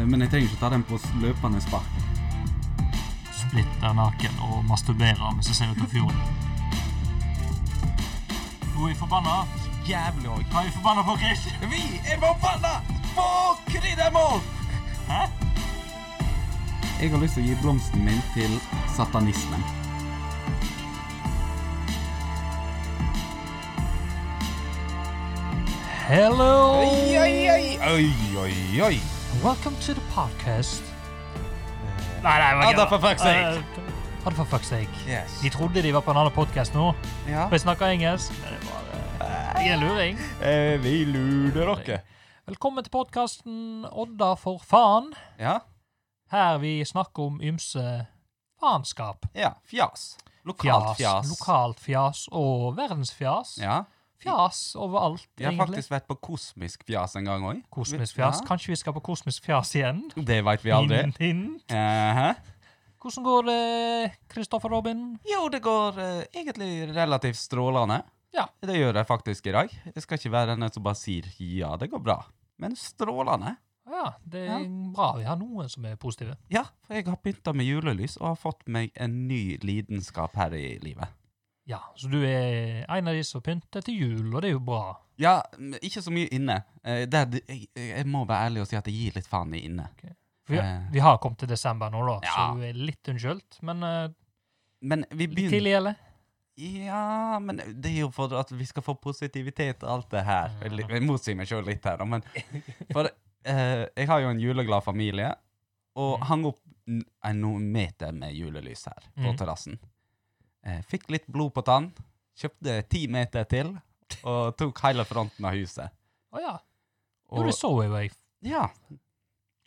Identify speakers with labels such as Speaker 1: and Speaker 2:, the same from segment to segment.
Speaker 1: Eh, men jeg trenger ikke ta den på s- løpende spark.
Speaker 2: splitter naken og masturberer mens jeg ser ut av fjorden. Nå er jeg forbanna.
Speaker 3: Jævlig òg.
Speaker 2: Hva er jeg forbanna på, Chris?
Speaker 3: Vi er forbanna på kryddermål!
Speaker 2: Hæ?
Speaker 1: Jeg har lyst til å gi blomsten min til satanismen.
Speaker 2: Hello!
Speaker 3: Oi, oi, oi, oi, oi, oi.
Speaker 2: Welcome to the podcast. Nei, nei,
Speaker 3: Adda for fuck's sake.
Speaker 2: Adda Eh, for fuck's sake.
Speaker 3: Yes.
Speaker 2: De trodde de var på en annen podcast nå,
Speaker 3: Ja.
Speaker 2: for jeg snakker engelsk. men det var, eh, Jeg er en luring.
Speaker 3: Eh, vi lurer dere.
Speaker 2: Velkommen til podkasten Odda for faen,
Speaker 3: Ja.
Speaker 2: her vi snakker om ymse faenskap.
Speaker 3: ja. Fjas. Lokalt
Speaker 2: Fjas,
Speaker 3: fjas.
Speaker 2: lokalt fjas og verdensfjas.
Speaker 3: Ja.
Speaker 2: Fjas overalt,
Speaker 3: Jeg har
Speaker 2: egentlig.
Speaker 3: faktisk vært på kosmisk fjas en gang òg.
Speaker 2: Kosmisk fjas.
Speaker 3: Ja.
Speaker 2: Kanskje vi skal på kosmisk fjas igjen?
Speaker 3: Det veit vi aldri.
Speaker 2: Hint, hint.
Speaker 3: Ehe.
Speaker 2: Hvordan går det, Kristoffer Robin?
Speaker 3: Jo, det går eh, egentlig relativt strålende.
Speaker 2: Ja.
Speaker 3: Det gjør det faktisk i dag. Jeg skal ikke være den som bare sier 'ja, det går bra', men strålende.
Speaker 2: Ja, det er
Speaker 3: Ja.
Speaker 2: bra vi har noen som er positive.
Speaker 3: Ja, for jeg har pynta med julelys og har fått meg en ny lidenskap her i livet.
Speaker 2: Ja, så du er en av de som pynter til jul, og det er jo bra.
Speaker 3: Ja, men ikke så mye inne. Eh, det er- jeg, jeg må være ærlig og si at jeg gir litt faen i inne.
Speaker 2: For vi,
Speaker 3: Eh.
Speaker 2: vi har kommet til desember nå, da,
Speaker 3: Ja.
Speaker 2: så du er litt unnskyldt. Men eh,
Speaker 3: Men vi
Speaker 2: litt
Speaker 3: begynner
Speaker 2: tidlig, eller?
Speaker 3: Ja, men det er jo for at vi skal få positivitet og alt det her. Jeg li- Jeg motsier meg sjøl litt her, da, men For eh, jeg har jo en juleglad familie, og
Speaker 2: Mhm.
Speaker 3: hang opp n- en noen meter med julelys her på
Speaker 2: Mhm.
Speaker 3: terrassen. Eh, fikk litt blod på tann, kjøpte ti meter til, og tok hele fronten av huset.
Speaker 2: Å ja. Jo,
Speaker 3: Og,
Speaker 2: det så jeg, jo, jeg,
Speaker 3: ja,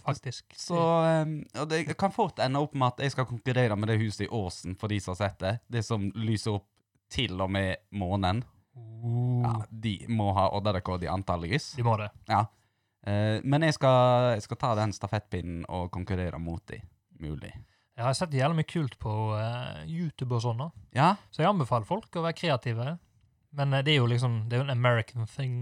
Speaker 2: faktisk.
Speaker 3: så ehm, og det kan fort ende opp med at jeg skal konkurrere med det huset i Åsen, for de som har sett det. Det som lyser opp til og med månen.
Speaker 2: Oh,
Speaker 3: Ja, de må ha odderekord i antall lys.
Speaker 2: De må det.
Speaker 3: Ja. Eh, men jeg skal, jeg skal ta den stafettpinnen og konkurrere mot de, mulig.
Speaker 2: Jeg har sett jævlig mye kult på eh, YouTube og sånn. da.
Speaker 3: Ja,
Speaker 2: Så jeg anbefaler folk å være kreative. Men eh, det er jo liksom Det er jo en American thing.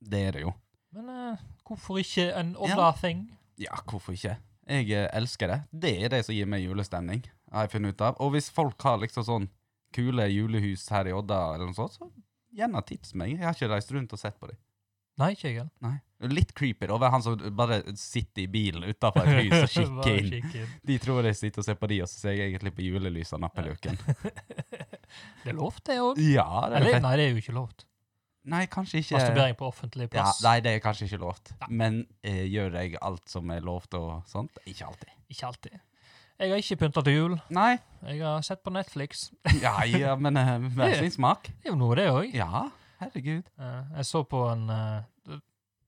Speaker 3: det er det jo.
Speaker 2: Men eh, hvorfor ikke en Odda
Speaker 3: Ja.
Speaker 2: thing?
Speaker 3: Ja, hvorfor ikke? Jeg eh, elsker det. Det er det som gir meg julestemning, har jeg funnet ut av. Og hvis folk har liksom sånn kule julehus her i Odda eller noe sånt, så gjerne tips meg. Jeg har ikke reist rundt og sett på dem.
Speaker 2: Nei, ikke jeg.
Speaker 3: Nei. Litt creepy da, å være han som bare sitter i bilen utenfor et hus og
Speaker 2: Bare
Speaker 3: kikker inn.
Speaker 2: kikke inn.
Speaker 3: De tror jeg sitter og ser på de, og så ser jeg egentlig på julelys og nappeløken.
Speaker 2: Det er lov, det òg.
Speaker 3: Ja, det er
Speaker 2: Eller,
Speaker 3: fett.
Speaker 2: nei, det er jo ikke lovt.
Speaker 3: Nei, kanskje ikke.
Speaker 2: Masturbering på offentlig
Speaker 3: Ja,
Speaker 2: plass.
Speaker 3: nei, det er kanskje ikke lovt.
Speaker 2: Nei.
Speaker 3: Men eh, gjør jeg alt som er lovt og sånt? Ikke alltid.
Speaker 2: Ikke alltid. Jeg har ikke pynta til jul.
Speaker 3: Nei.
Speaker 2: Jeg har sett på Netflix.
Speaker 3: Ja, ja men eh, hver sin smak.
Speaker 2: Det er jo noe, det òg.
Speaker 3: Ja, herregud.
Speaker 2: Jeg så på en eh, Det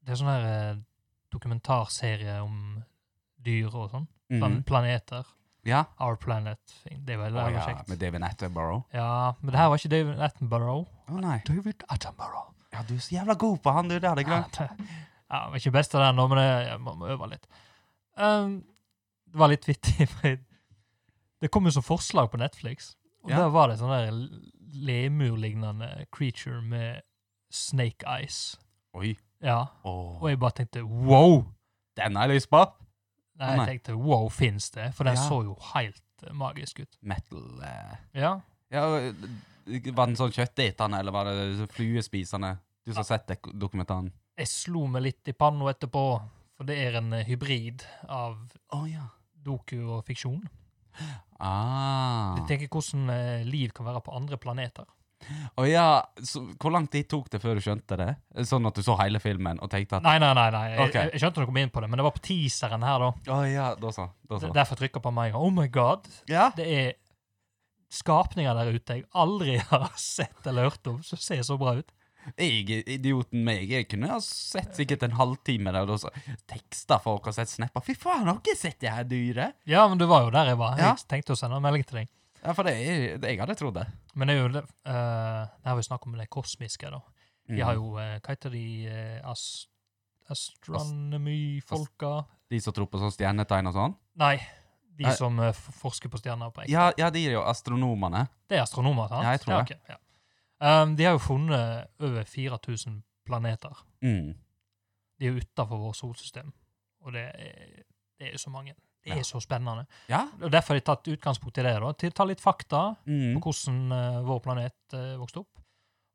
Speaker 2: det er sånn her eh, dokumentarserie om dyr og sånn. Plan
Speaker 3: Mhm.
Speaker 2: Planeter.
Speaker 3: Ja.
Speaker 2: Our Planet. thing. Det er veldig
Speaker 3: Å ja,
Speaker 2: jævlig kjekt.
Speaker 3: med David Attenborough.
Speaker 2: Ja, men det her var ikke David Attenborough.
Speaker 3: Å nei.
Speaker 2: David Attenborough.
Speaker 3: Ja, du er så jævla god på han, du. Det hadde jeg
Speaker 2: Ja,
Speaker 3: glemt.
Speaker 2: det ja, det var ikke best av den nå, men jeg, jeg må må øve litt. Ehm, det var litt vittig. for jeg- Det kom jo som forslag på Netflix, og
Speaker 3: Ja.
Speaker 2: der var det sånn der l- lemurlignende creature med snake eyes.
Speaker 3: Oi.
Speaker 2: Ja,
Speaker 3: Åh,
Speaker 2: og jeg bare tenkte wow!
Speaker 3: Den har jeg lyst på.
Speaker 2: Nei, jeg
Speaker 3: Nei.
Speaker 2: tenkte wow, fins det? For den
Speaker 3: Ja.
Speaker 2: så jo helt eh, magisk ut.
Speaker 3: Metal. eh.
Speaker 2: Ja,
Speaker 3: Ja, og, eh, var den sånn kjøttetende, eller var det så fluespisende? Du som har sett dek- dokumentaren.
Speaker 2: jeg slo meg litt i panna etterpå, for det er en eh, hybrid av
Speaker 3: Å ja.
Speaker 2: doku og fiksjon.
Speaker 3: Ah.
Speaker 2: Jeg tenker hvordan eh, liv kan være på andre planeter.
Speaker 3: Å ja, så, hvor lang tid tok det før du skjønte det? Sånn at du så hele filmen og tenkte at
Speaker 2: Nei, nei, nei. nei. Jeg,
Speaker 3: Ok.
Speaker 2: jeg, jeg skjønte noe inn på det, men det var på teaseren her, da.
Speaker 3: Å ja, da så. Da
Speaker 2: Det-
Speaker 3: så.
Speaker 2: Derfor trykka på meg. Oh my god.
Speaker 3: Ja.
Speaker 2: Det er skapninger der ute jeg aldri har sett eller hørt om, som ser så bra ut.
Speaker 3: Jeg, idioten meg, jeg kunne ha sett sikkert en halvtime der og da så teksta folk og sett snapper. Fy faen, har dere sett det her dyret?
Speaker 2: Ja, men du var jo der jeg var.
Speaker 3: Ja.
Speaker 2: Jeg tenkte å sende en melding til deg.
Speaker 3: Ja, for det er det jeg hadde trodd det.
Speaker 2: Men det er jo det eh, Det har vi snakket om, det kosmiske, da. De
Speaker 3: Mm.
Speaker 2: har jo eh, Hva heter de eh, ast Astronomy-folka?
Speaker 3: De som tror på sånn stjernetegn og sånn?
Speaker 2: Nei. De
Speaker 3: Nei.
Speaker 2: som eh, f- forsker på stjerner på ekte.
Speaker 3: Ja, ja, de er jo astronomene.
Speaker 2: Det er astronomer, sant?
Speaker 3: Ja, jeg tror
Speaker 2: ok, ja. Um, de har jo funnet over 4000 planeter.
Speaker 3: Mm.
Speaker 2: De er jo utenfor vår solsystem. Og det er, det er jo så mange. Det
Speaker 3: Ja.
Speaker 2: er så spennende.
Speaker 3: Ja.
Speaker 2: Og Derfor har jeg tatt utgangspunkt i det. da, til å ta litt fakta på
Speaker 3: Mm.
Speaker 2: hvordan eh, vår planet eh, vokste opp.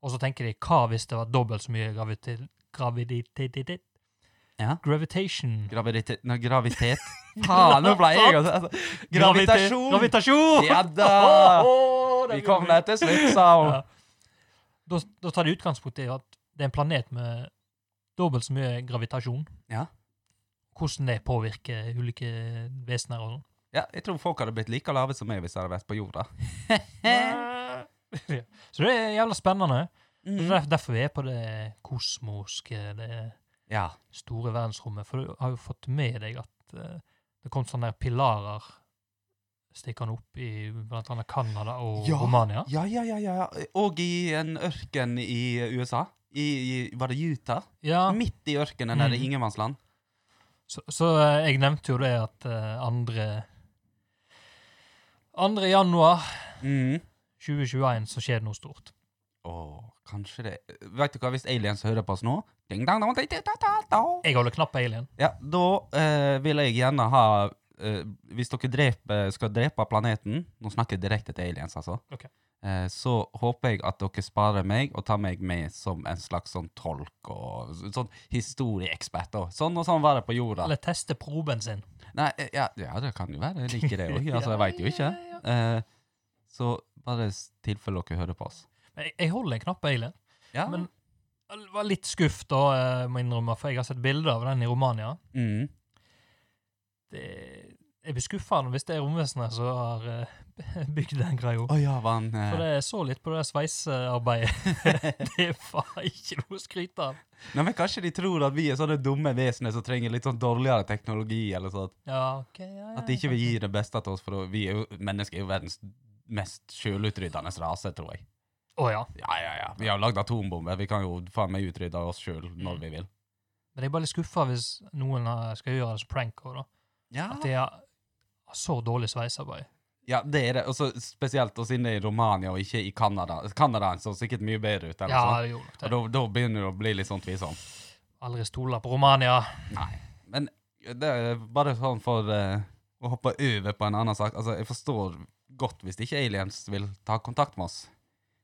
Speaker 2: Og så tenker de hva hvis det var dobbelt så mye graviditet Graviditet
Speaker 3: Ja.
Speaker 2: Gravitation.
Speaker 3: Graviditet Nei, gravitet. Faen, nå ble jeg altså, Gravitasjon!
Speaker 2: Gravitasjon!
Speaker 3: Ja da!
Speaker 2: Åh, det
Speaker 3: Vi
Speaker 2: blir
Speaker 3: kom
Speaker 2: mye.
Speaker 3: der til slutt, sa hun.
Speaker 2: Ja. Da, da tar de utgangspunkt i at det er en planet med dobbelt så mye gravitasjon.
Speaker 3: Ja.
Speaker 2: Hvordan det påvirker ulike vesener og sånn.
Speaker 3: Ja, jeg tror folk hadde blitt like lave som meg hvis jeg hadde vært på jorda.
Speaker 2: Ja. Så det er jævla spennende. Så
Speaker 3: Mm.
Speaker 2: det er derfor vi er på det kosmoske, det
Speaker 3: Ja.
Speaker 2: store verdensrommet. For du har jo fått med deg at eh, det kom sånne der pilarer stikkende opp i blant annet Canada og
Speaker 3: Ja.
Speaker 2: Romania.
Speaker 3: Ja, ja, ja, ja. ja. Og i en ørken i USA. I, i Var det Utah?
Speaker 2: Ja,
Speaker 3: Midt i ørkenen der i
Speaker 2: Mm.
Speaker 3: ingenmannsland.
Speaker 2: Så, så eh, jeg nevnte jo det at eh, andre 2. januar
Speaker 3: Mm.
Speaker 2: 2021 så skjer det noe stort.
Speaker 3: Åh, kanskje det Vet du hva, hvis aliens hører på oss nå ding, dang, dong, ding, ding, dang, dang, dang.
Speaker 2: Jeg holder knapp på alien.
Speaker 3: Ja, da eh, vil jeg gjerne ha eh, Hvis dere dreper, skal drepe planeten Nå snakker jeg direkte til aliens, altså.
Speaker 2: Ok.
Speaker 3: Eh, så håper jeg at dere sparer meg og tar meg med som en slags sånn tolk og s- sånn historieekspert. og Sånn og sånn var det på jorda.
Speaker 2: Eller teste proben sin.
Speaker 3: Nei, eh, ja, ja, det kan jo være. Jeg liker det òg. Altså, jeg veit jo ikke.
Speaker 2: Ja, ja,
Speaker 3: Eh, så bare i tilfelle dere hører på oss.
Speaker 2: Men Jeg, jeg holder en knapp på alien.
Speaker 3: Ja.
Speaker 2: Men jeg var litt skuffet da, eh, må jeg innrømme, for jeg har sett bilder av den i Romania.
Speaker 3: mm.
Speaker 2: Det, jeg blir skuffa hvis det er romvesenet som har eh, bygd den greia.
Speaker 3: Å ja, var han eh,
Speaker 2: For det jeg så litt på det sveisearbeidet. det var ikke noe å skryte av.
Speaker 3: Nei, men Kanskje de tror at vi er sånne dumme vesener som trenger litt sånn dårligere teknologi. eller sånn.
Speaker 2: Ja, ok, ja, ja,
Speaker 3: At de ikke vil gi det beste til oss, for da- vi er jo, mennesker er jo verdens mest sjølutryddende rase, tror jeg.
Speaker 2: Å ja.
Speaker 3: Ja, ja, ja. Vi har lagd atombomber. Vi kan jo faen meg utrydde oss sjøl
Speaker 2: Mm.
Speaker 3: når vi vil.
Speaker 2: Men jeg er bare litt skuffa hvis noen eh, skal gjøre det som prank også, da.
Speaker 3: Ja,
Speaker 2: At de har har så dårlig sveisarbeid.
Speaker 3: ja det er det. Og så spesielt oss inne i Romania og ikke i Canada. Canada så sikkert mye bedre ut. eller
Speaker 2: Ja,
Speaker 3: sånn.
Speaker 2: det gjorde nok
Speaker 3: Og
Speaker 2: det.
Speaker 3: da, da begynner det å bli litt sånn tvilsom.
Speaker 2: Aldri stoler på Romania.
Speaker 3: Nei. Men det er bare sånn for eh, å hoppe over på en annen sak. Altså, jeg forstår godt hvis ikke aliens vil ta kontakt med oss.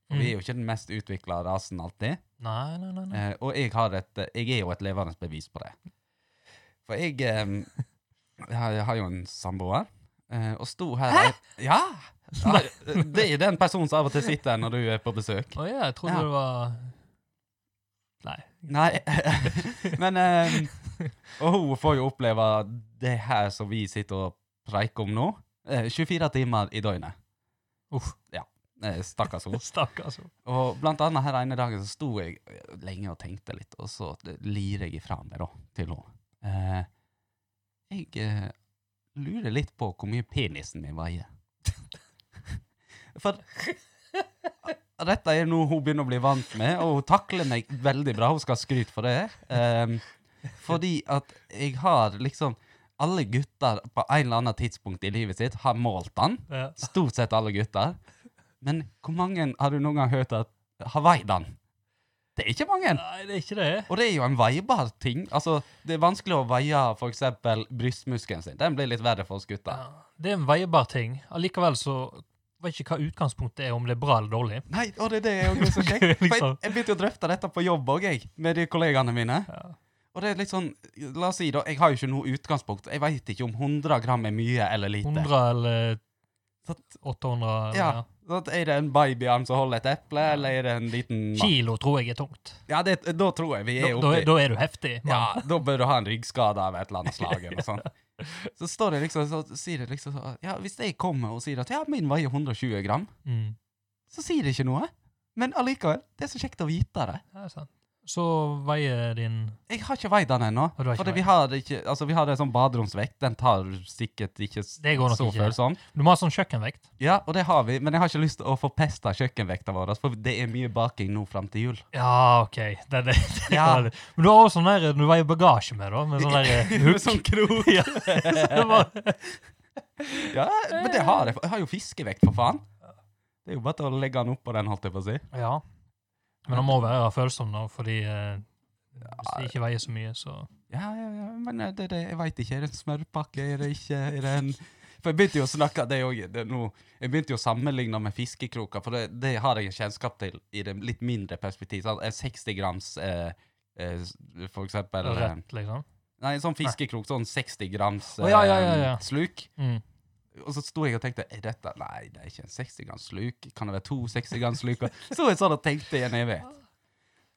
Speaker 3: For
Speaker 2: Mm.
Speaker 3: vi er jo ikke den mest utvikla rasen alltid.
Speaker 2: Nei, nei, nei. nei.
Speaker 3: Eh, og jeg, har et, eh, jeg er jo et levende bevis på det. For jeg, em, jeg, har, jeg har jo en samboer, eh, og sto her Hæ?! Ja! ja! Det er den personen som av og til sitter her når du er på besøk.
Speaker 2: Å ja, jeg trodde
Speaker 3: Ja.
Speaker 2: det var Nei.
Speaker 3: Nei, men em, Og hun får jo oppleve det her som vi sitter og preiker om nå, eh, 24 timer i døgnet.
Speaker 2: Uff.
Speaker 3: Eh, Stakkars hun.
Speaker 2: Stakkars.
Speaker 3: Og blant annet her ene dagen så sto jeg eh, lenge og tenkte litt, og så lirer jeg ifra meg da, til henne. Eh, jeg eh, lurer litt på hvor mye penisen min veier. For dette er noe hun begynner å bli vant med, og hun takler meg veldig bra. Hun skal ha skryt for det. Eh, fordi at jeg har liksom Alle gutter på en eller annen tidspunkt i livet sitt har målt den.
Speaker 2: Ja.
Speaker 3: Stort sett alle gutter. Men hvor mange har du noen gang hørt at har veid den? Det er ikke mange.
Speaker 2: Nei, det er ikke det.
Speaker 3: Og det er jo en veibar ting. Altså, det er vanskelig å veie for eksempel brystmuskelen sin. Den blir litt verre for oss gutter.
Speaker 2: Ja. Det er en veibar ting. Allikevel så vet jeg ikke hva utgangspunktet er, om det er bra eller dårlig.
Speaker 3: Nei, og det er det jeg også så kjekt. For jeg,
Speaker 2: Liksom.
Speaker 3: jeg begynte jo å drøfte dette på jobb òg, jeg, med de kollegaene mine.
Speaker 2: Ja.
Speaker 3: Og det er litt sånn, la oss si da, jeg har jo ikke noe utgangspunkt. Jeg veit ikke om 100 gram er mye eller lite.
Speaker 2: 100 eller
Speaker 3: Så at-
Speaker 2: 800 eller,
Speaker 3: Ja.
Speaker 2: ja.
Speaker 3: Så at er det en babyarm som holder et eple, eller er det en liten mann?
Speaker 2: Kilo tror jeg er tungt.
Speaker 3: Ja, det, da tror jeg vi
Speaker 2: Da,
Speaker 3: er
Speaker 2: da,
Speaker 3: oppi
Speaker 2: er- da er du heftig. mann.
Speaker 3: Ja, da bør du ha en ryggskade av et eller annet slag. eller sånn. Så står det liksom, så sier det liksom så, ja, Hvis jeg kommer og sier at ja, min veier 120 gram,
Speaker 2: Mm.
Speaker 3: så sier det ikke noe. Men allikevel, det er så kjekt å vite det.
Speaker 2: Ja, sant. Så veier din
Speaker 3: Jeg har ikke veid den ennå.
Speaker 2: du har ikke
Speaker 3: For
Speaker 2: veid
Speaker 3: vi har ikke, altså vi har en sånn baderomsvekt. Den tar sikkert ikke s-
Speaker 2: Det går nok
Speaker 3: så
Speaker 2: ikke.
Speaker 3: følsom.
Speaker 2: Du må ha sånn kjøkkenvekt.
Speaker 3: Ja, og det har vi, men jeg har ikke lyst til å forpeste kjøkkenvekta vår, altså, for det er mye baking nå fram til jul.
Speaker 2: Ja, OK. Den er, den er
Speaker 3: Ja.
Speaker 2: veldig- Men du har også sånn der du veier bagasje med, da. Med sånn der
Speaker 3: Med sånn krok.
Speaker 2: ja. Så det var-
Speaker 3: Ja, men det har jeg. Jeg har jo fiskevekt, for faen. Det er jo bare til å legge den oppå den, holdt jeg på å si.
Speaker 2: ja. Men den må være følsom, da, fordi eh, hvis det ikke veier så mye, så
Speaker 3: Ja, ja, ja. men er det, det, jeg veit ikke. Er det en smørpakke? Er det ikke er det en For jeg begynte jo å snakke det også, det er noe- Jeg begynte jo å sammenligne med fiskekroker, for det, det har jeg kjennskap til i det litt mindre perspektiv. Sant? En 60 grams eh, eh, s- for eksempel eh,
Speaker 2: Rett, liksom.
Speaker 3: Nei, en sånn fiskekrok, sånn 60 grams eh,
Speaker 2: Å, ja, ja, ja, ja.
Speaker 3: sluk.
Speaker 2: Mm.
Speaker 3: Og så sto jeg og tenkte er dette, Nei, det er ikke en 60 grams sluk. Kan det være to 60 grams sluker? Så jeg sånn og tenkte i en evighet.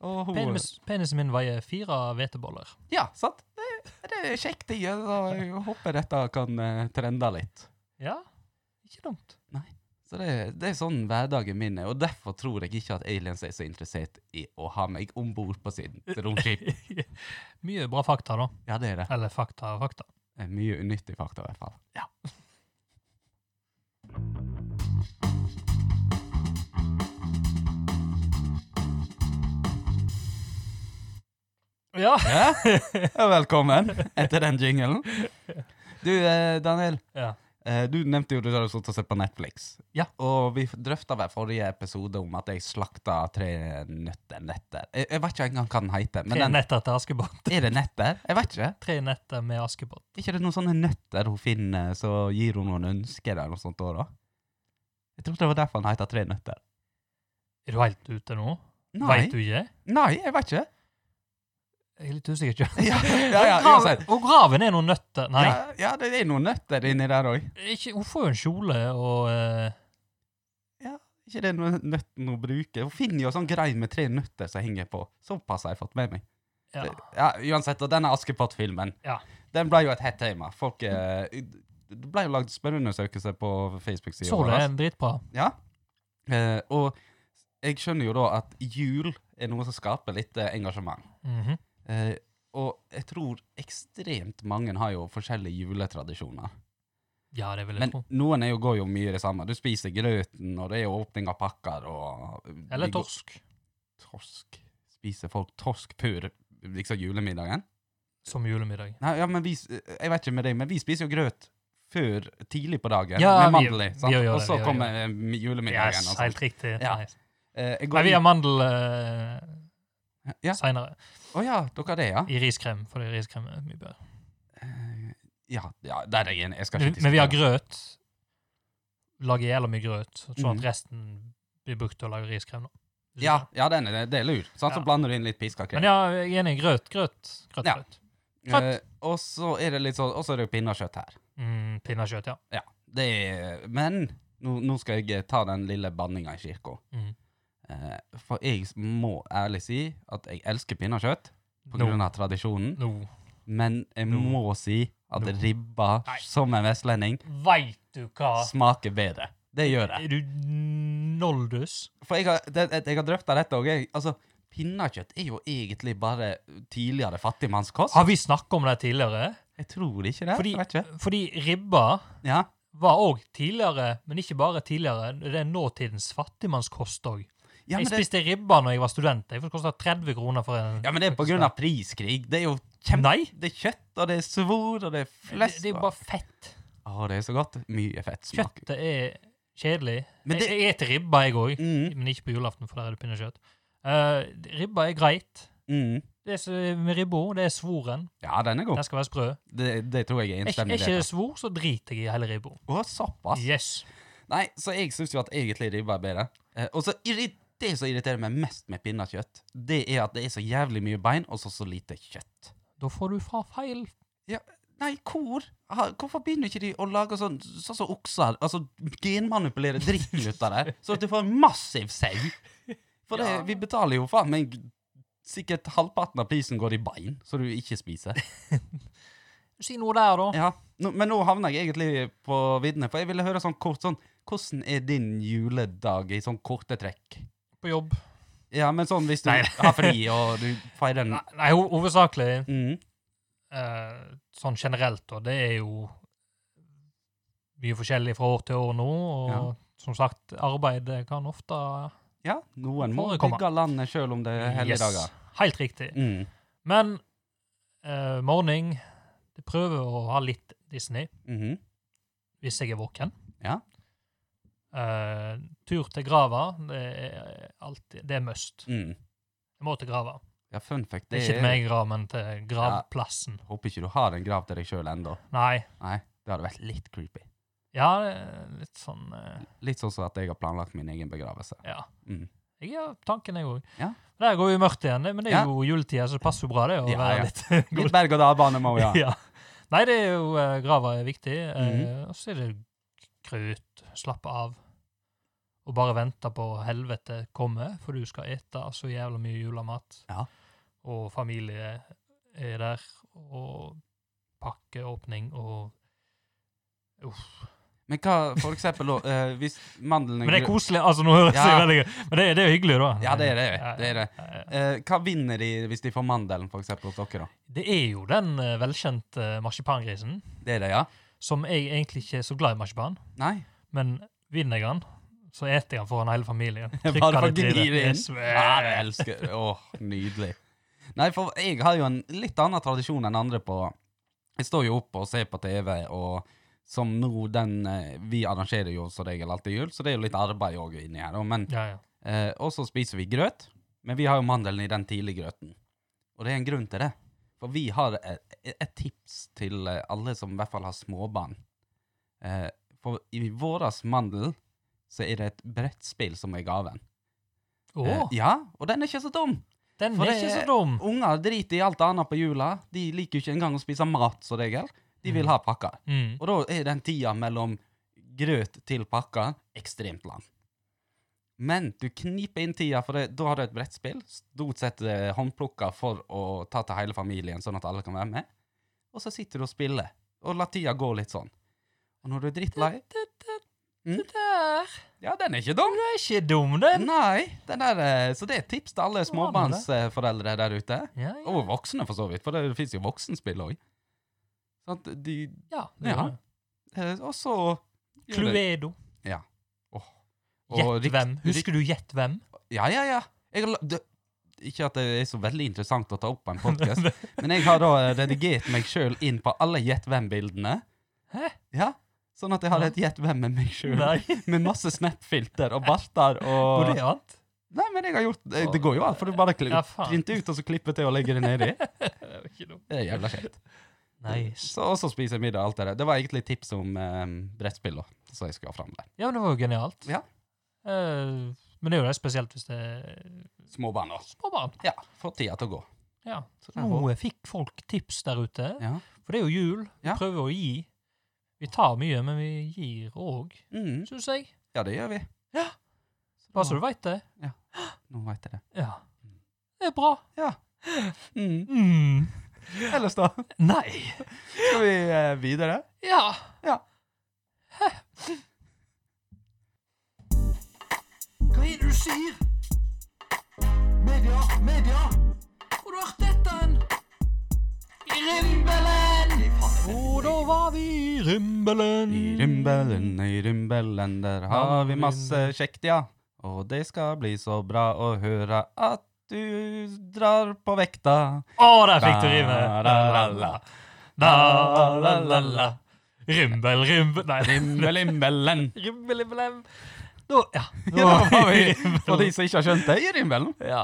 Speaker 3: Og hun-
Speaker 2: Penis, penisen min veier fire hveteboller.
Speaker 3: Ja, sant? Det, det er kjekt. ting, ja, så Jeg håper dette kan eh, trende litt.
Speaker 2: Ja, ikke dumt.
Speaker 3: Så det, det er sånn hverdagen min er, og derfor tror jeg ikke at aliens er så interessert i å ha meg om bord på sin romskip.
Speaker 2: Mye bra fakta, da.
Speaker 3: Ja, det er det.
Speaker 2: Eller fakta og fakta.
Speaker 3: Det er Mye unyttig fakta, i hvert fall. Ja.
Speaker 2: Ja.
Speaker 3: Ja, Velkommen etter den jinglen. Du, eh, Daniel.
Speaker 2: ja.
Speaker 3: Eh, Du nevnte jo du hadde sittet og sett på Netflix.
Speaker 2: Ja.
Speaker 3: Og vi drøfta hver forrige episode om at jeg slakta tre nøtter netter. Jeg, jeg vet ikke engang hva den heter.
Speaker 2: Tre
Speaker 3: Men den,
Speaker 2: netter til Askepott.
Speaker 3: er det netter? Jeg vet ikke.
Speaker 2: Tre netter med Askepott.
Speaker 3: Er ikke det noen sånne nøtter hun finner, så gir hun noen ønsker eller noe sånt da? da? Jeg trodde det var derfor han heter Tre nøtter.
Speaker 2: Er du helt ute nå?
Speaker 3: Nei,
Speaker 2: Veit du ikke?
Speaker 3: Nei jeg vet ikke.
Speaker 2: Jeg er litt usikker. ikke?
Speaker 3: Ja, ja, ja,
Speaker 2: Og graven-
Speaker 3: uansett.
Speaker 2: og graven er noen nøtter. Nei,
Speaker 3: Ja, ja, det er noen nøtter inni der òg.
Speaker 2: ikke, hun får jo en kjole og eh,
Speaker 3: Ikke det noen nøtten hun bruker. Hun finner jo sånn grei med tre nøtter som henger på. Såpass har jeg fått med meg.
Speaker 2: ja.
Speaker 3: Ja, uansett, og denne Askepott-filmen,
Speaker 2: Ja.
Speaker 3: den ble jo et hett tema. Folk, eh, det ble jo lagd spørreundersøkelser på altså. Facebook-sida
Speaker 2: Så det er dritbra.
Speaker 3: Ja. Eh, og jeg skjønner jo da at jul er noe som skaper litt eh, engasjement.
Speaker 2: Mhm.
Speaker 3: Eh, og jeg tror ekstremt mange har jo forskjellige juletradisjoner.
Speaker 2: Ja, det vil jeg
Speaker 3: Men
Speaker 2: tro.
Speaker 3: noen er jo, går jo mye i det samme. Du spiser grøten, og det er jo åpning av pakker. Og
Speaker 2: Eller
Speaker 3: vi går-
Speaker 2: torsk.
Speaker 3: Torsk. Spiser folk torsk pur liksom julemiddagen?
Speaker 2: Som julemiddag.
Speaker 3: Nei, ja, men vi, s- jeg vet ikke med deg, men vi spiser jo grøt før tidlig på dagen,
Speaker 2: Ja,
Speaker 3: med
Speaker 2: vi-
Speaker 3: mandel i.
Speaker 2: vi
Speaker 3: sant?
Speaker 2: gjør det,
Speaker 3: og så
Speaker 2: vi gjør
Speaker 3: kommer eh, julemiddagen.
Speaker 2: Yes,
Speaker 3: og sånt.
Speaker 2: helt riktig.
Speaker 3: altså. Ja.
Speaker 2: Nice.
Speaker 3: Eh, jeg
Speaker 2: Nei,
Speaker 3: går
Speaker 2: vi har
Speaker 3: inn...
Speaker 2: mandel uh,
Speaker 3: Ja.
Speaker 2: seinere.
Speaker 3: Å ja, dere har det, ja?
Speaker 2: I riskrem, fordi riskrem er mye bedre.
Speaker 3: Ja, ja der er jeg enig. Jeg skal ikke
Speaker 2: Men vi har
Speaker 3: diskutere.
Speaker 2: grøt. Lager jævla mye grøt, sånn at
Speaker 3: Mhm.
Speaker 2: resten blir brukt til å lage riskrem. da.
Speaker 3: Ja, ja den er, det er lur. Sant?
Speaker 2: Ja.
Speaker 3: Så blander du inn litt piska krem.
Speaker 2: Men ja, jeg er enig. Grøt, grøt. grøt,
Speaker 3: Ja.
Speaker 2: grøt.
Speaker 3: Eh, og så er det litt sånn, og så er det jo pinnekjøtt her.
Speaker 2: Mm, Pinnekjøtt, ja.
Speaker 3: Ja, det er... Men nå, nå skal jeg eh, ta den lille banninga i kirka.
Speaker 2: Mm.
Speaker 3: Eh, for jeg må ærlig si at jeg elsker pinnekjøtt på
Speaker 2: Nå.
Speaker 3: grunn av tradisjonen.
Speaker 2: Nå
Speaker 3: Men jeg
Speaker 2: No.
Speaker 3: må si at
Speaker 2: No.
Speaker 3: ribba,
Speaker 2: Nei. Ah.
Speaker 3: som en vestlending,
Speaker 2: veit du hva
Speaker 3: smaker bedre. Det gjør jeg.
Speaker 2: Er du noldus?
Speaker 3: For jeg har, det, det- jeg har drøfta dette òg. Altså, pinnekjøtt er jo egentlig bare tidligere fattigmannskost.
Speaker 2: Har vi snakka om det tidligere?
Speaker 3: Jeg tror ikke det.
Speaker 2: Fordi,
Speaker 3: jeg vet ikke.
Speaker 2: fordi ribba
Speaker 3: Ja.
Speaker 2: var òg tidligere, men ikke bare tidligere. Det er nåtidens fattigmannskost òg.
Speaker 3: Ja,
Speaker 2: jeg
Speaker 3: men det,
Speaker 2: spiste ribba når jeg var student. Jeg kosta 30 kroner for en
Speaker 3: ja, men det er på grunn av priskrig. Det er jo kjempe...
Speaker 2: Nei!
Speaker 3: Det er kjøtt, og det er svor, og det er
Speaker 2: Det,
Speaker 3: flesk.
Speaker 2: det er jo bare fett.
Speaker 3: Å, det er så godt. Mye fett smak.
Speaker 2: Kjøttet er kjedelig.
Speaker 3: Men det-
Speaker 2: Jeg, jeg eter ribba, jeg òg,
Speaker 3: Mm,
Speaker 2: men ikke på julaften, for der er det pinnekjøtt. Eh, ribba er greit.
Speaker 3: mm.
Speaker 2: Det som er med ribba, det er svoren.
Speaker 3: Ja, den er god.
Speaker 2: Den skal være sprø.
Speaker 3: Det, det tror jeg er
Speaker 2: Er ikke- er
Speaker 3: innstemmig.
Speaker 2: ikke det svor, så driter jeg i hele ribba.
Speaker 3: Å, såpass.
Speaker 2: Yes.
Speaker 3: Nei, så jeg syns jo at egentlig ribba er bedre. Eh, og så irri- det som irriterer meg mest med pinnekjøtt, det er at det er så jævlig mye bein og så så lite kjøtt.
Speaker 2: Da får du fra feil.
Speaker 3: Nei, hvor? Ha, hvorfor begynner ikke de å lage sånn sånn som okser? Altså genmanipulere dritten ut av det, så at du får en massiv sau? For det,
Speaker 2: Ja.
Speaker 3: vi betaler jo faen meg Sikkert halvparten av prisen går i bein, så du ikke spiser.
Speaker 2: Si noe der, da.
Speaker 3: Ja, nå, Men nå havner jeg egentlig på viddene, for jeg ville høre sånn kort sånn Hvordan er din juledag i sånn korte trekk?
Speaker 2: På jobb.
Speaker 3: Ja, men sånn hvis du
Speaker 2: Nei.
Speaker 3: har fri og du feirer den
Speaker 2: Nei, nei ho hovedsakelig
Speaker 3: mm.
Speaker 2: eh, sånn generelt, da. Det er jo mye forskjellig fra år til år nå, og
Speaker 3: Ja.
Speaker 2: som sagt, arbeid kan ofte
Speaker 3: Ja, noen må
Speaker 2: Forekommer.
Speaker 3: bygge landet sjøl om det er helligdager.
Speaker 2: Helt riktig.
Speaker 3: Mm.
Speaker 2: Men eh, morning Jeg prøver å ha litt Disney
Speaker 3: Mhm.
Speaker 2: hvis jeg er våken.
Speaker 3: Ja.
Speaker 2: Eh, tur til grava, det er alltid Det er must.
Speaker 3: Mm.
Speaker 2: Jeg må til grava.
Speaker 3: Ja, fun fact,
Speaker 2: Det
Speaker 3: det
Speaker 2: er ikke til meg, grav, men til gravplassen.
Speaker 3: Håper ikke du har en grav til deg sjøl ennå.
Speaker 2: Nei.
Speaker 3: Nei, det hadde vært litt creepy.
Speaker 2: Ja, det er litt sånn eh,
Speaker 3: Litt sånn som at jeg har planlagt min egen begravelse.
Speaker 2: Ja.
Speaker 3: Mm.
Speaker 2: Jeg har tanken, jeg òg.
Speaker 3: Ja.
Speaker 2: Der går vi mørkt igjen, det- men det er
Speaker 3: Ja.
Speaker 2: jo juletida, så det passer jo bra, det. å
Speaker 3: Ja,
Speaker 2: være
Speaker 3: ja.
Speaker 2: litt
Speaker 3: Litt berg-og-dal-bane må vi ha.
Speaker 2: ja. Nei, det er jo eh, grava er viktig. eh,
Speaker 3: Mhm.
Speaker 2: Og så er det krutt. Slappe av. Og bare vente på helvete komme, for du skal ete så jævla mye julemat.
Speaker 3: Ja.
Speaker 2: Og familie er der. Og pakkeåpning og Uff.
Speaker 3: Men hva, for eksempel, da, eh, hvis mandelen
Speaker 2: Men det er koselig. altså nå høres det
Speaker 3: Ja.
Speaker 2: veldig Men det, er- det er jo hyggelig, da.
Speaker 3: Ja, det er det. det, er det.
Speaker 2: Ja, ja.
Speaker 3: Eh, hva vinner de hvis de får mandelen, for eksempel, hos dere, da?
Speaker 2: Det er jo den eh, velkjente marsipangrisen,
Speaker 3: Det er det, ja?
Speaker 2: som jeg egentlig ikke er så glad i marsipan.
Speaker 3: Nei?
Speaker 2: Men vinner jeg den, så eter jeg den foran hele familien.
Speaker 3: Bare
Speaker 2: Trykker
Speaker 3: for å
Speaker 2: litt i
Speaker 3: gni det inn.
Speaker 2: Yes, eh,
Speaker 3: Ja, det elsker jeg. Åh, nydelig. Nei, for jeg har jo en litt annen tradisjon enn andre på Jeg står jo opp og ser på TV, og som nå den eh, Vi arrangerer jo som regel alltid jul, så det er jo litt arbeid òg inni her, da. Men
Speaker 2: Ja, ja.
Speaker 3: Eh, og så spiser vi grøt, men vi har jo mandelen i den tidlige grøten. Og det er en grunn til det. For vi har et, et tips til eh, alle som i hvert fall har småbarn. Eh, for i våras mandel så er det et brettspill som er gaven.
Speaker 2: Å,
Speaker 3: Eh, ja, og den er ikke så dum!
Speaker 2: den
Speaker 3: for
Speaker 2: er
Speaker 3: det
Speaker 2: ikke så
Speaker 3: er-
Speaker 2: dum!
Speaker 3: Unger driter i alt annet på jula. De liker jo ikke engang å spise mat, som regel. De vil
Speaker 2: Mm.
Speaker 3: ha pakker.
Speaker 2: Mm.
Speaker 3: Og da er den tida mellom grøt til pakka ekstremt lang. Men du kniper inn tida, for det, da har du et brettspill. Stort sett eh, håndplukka for å ta til hele familien, sånn at alle kan være med. Og så sitter du og spiller, og lar tida gå litt sånn. Og når du er drittlei Mm.
Speaker 2: Det der
Speaker 3: Ja, den er ikke dum!
Speaker 2: det er ikke dum, den!
Speaker 3: Nei! Den er, eh, så det er et tips til alle småbarnsforeldre der ute.
Speaker 2: Ja, ja.
Speaker 3: Og voksne, for så vidt, for det fins jo voksenspill òg. Sånn at de
Speaker 2: ja, det
Speaker 3: Ja.
Speaker 2: er det.
Speaker 3: eh, Og så
Speaker 2: Cluedo.
Speaker 3: Og
Speaker 2: Gjett
Speaker 3: rikt-
Speaker 2: hvem. Husker du Gjett hvem?
Speaker 3: Ja, ja, ja. Jeg har, la- det, ikke at det er så veldig interessant å ta opp på en podkast, men jeg har da eh, redigert meg sjøl inn på alle Gjett hvem-bildene.
Speaker 2: Hæ?
Speaker 3: Ja, Sånn at jeg har et Gjett hvem med meg sjøl,
Speaker 2: Nei,
Speaker 3: med masse Snap-filter og barter og
Speaker 2: går det an?
Speaker 3: Nei, men jeg har gjort Det, det går jo an, for du bare kli-
Speaker 2: Ja, faen.
Speaker 3: printer ut, og så klipper til og legger det nedi.
Speaker 2: Det er jo ikke dumt.
Speaker 3: Det er jævla kjekt.
Speaker 2: Nice.
Speaker 3: Så, og så spiser jeg middag og alt det der. Det var egentlig tips om eh, brettspill, da, så jeg skulle ha fram der.
Speaker 2: Ja, men det var jo genialt.
Speaker 3: Ja.
Speaker 2: Eh, men det er jo det spesielt hvis det er
Speaker 3: Småbarn, da.
Speaker 2: små barn.
Speaker 3: Ja, få tida til å gå.
Speaker 2: Ja.
Speaker 3: Så det er
Speaker 2: Nå fikk folk tips der ute.
Speaker 3: Ja.
Speaker 2: For det er jo jul. Vi
Speaker 3: Ja.
Speaker 2: prøver å gi. Vi tar mye, men vi gir òg,
Speaker 3: Mm.
Speaker 2: syns jeg.
Speaker 3: ja, det gjør vi.
Speaker 2: Ja. Bare så du veit det.
Speaker 3: Nå veit jeg det.
Speaker 2: Ja. Det er bra.
Speaker 3: Mm.
Speaker 2: Mm.
Speaker 3: Ellers da,
Speaker 2: Nei.
Speaker 3: skal vi eh, videre?
Speaker 2: Ja.
Speaker 3: Ja.
Speaker 2: Hva er det du sier? Media, media! Hvor har du hørt dette hen? I rimbelen! Og da var vi i rimbelen.
Speaker 3: I rymbelen, i rymbelen, der har vi masse kjekt, ja. Og det skal bli så bra å høre at du drar på vekta.
Speaker 2: Å, der fikk du rime.
Speaker 3: Da, la, la.
Speaker 2: Da, la, la, la. Rimbel, rimbel Nei,
Speaker 3: Rimbel, rimbelen.
Speaker 2: rimbel, rimbel. Da, ja.
Speaker 3: Ja, da var vi,
Speaker 2: rimbel.
Speaker 3: for de som ikke har skjønt det, i rymbelen.
Speaker 2: Ja.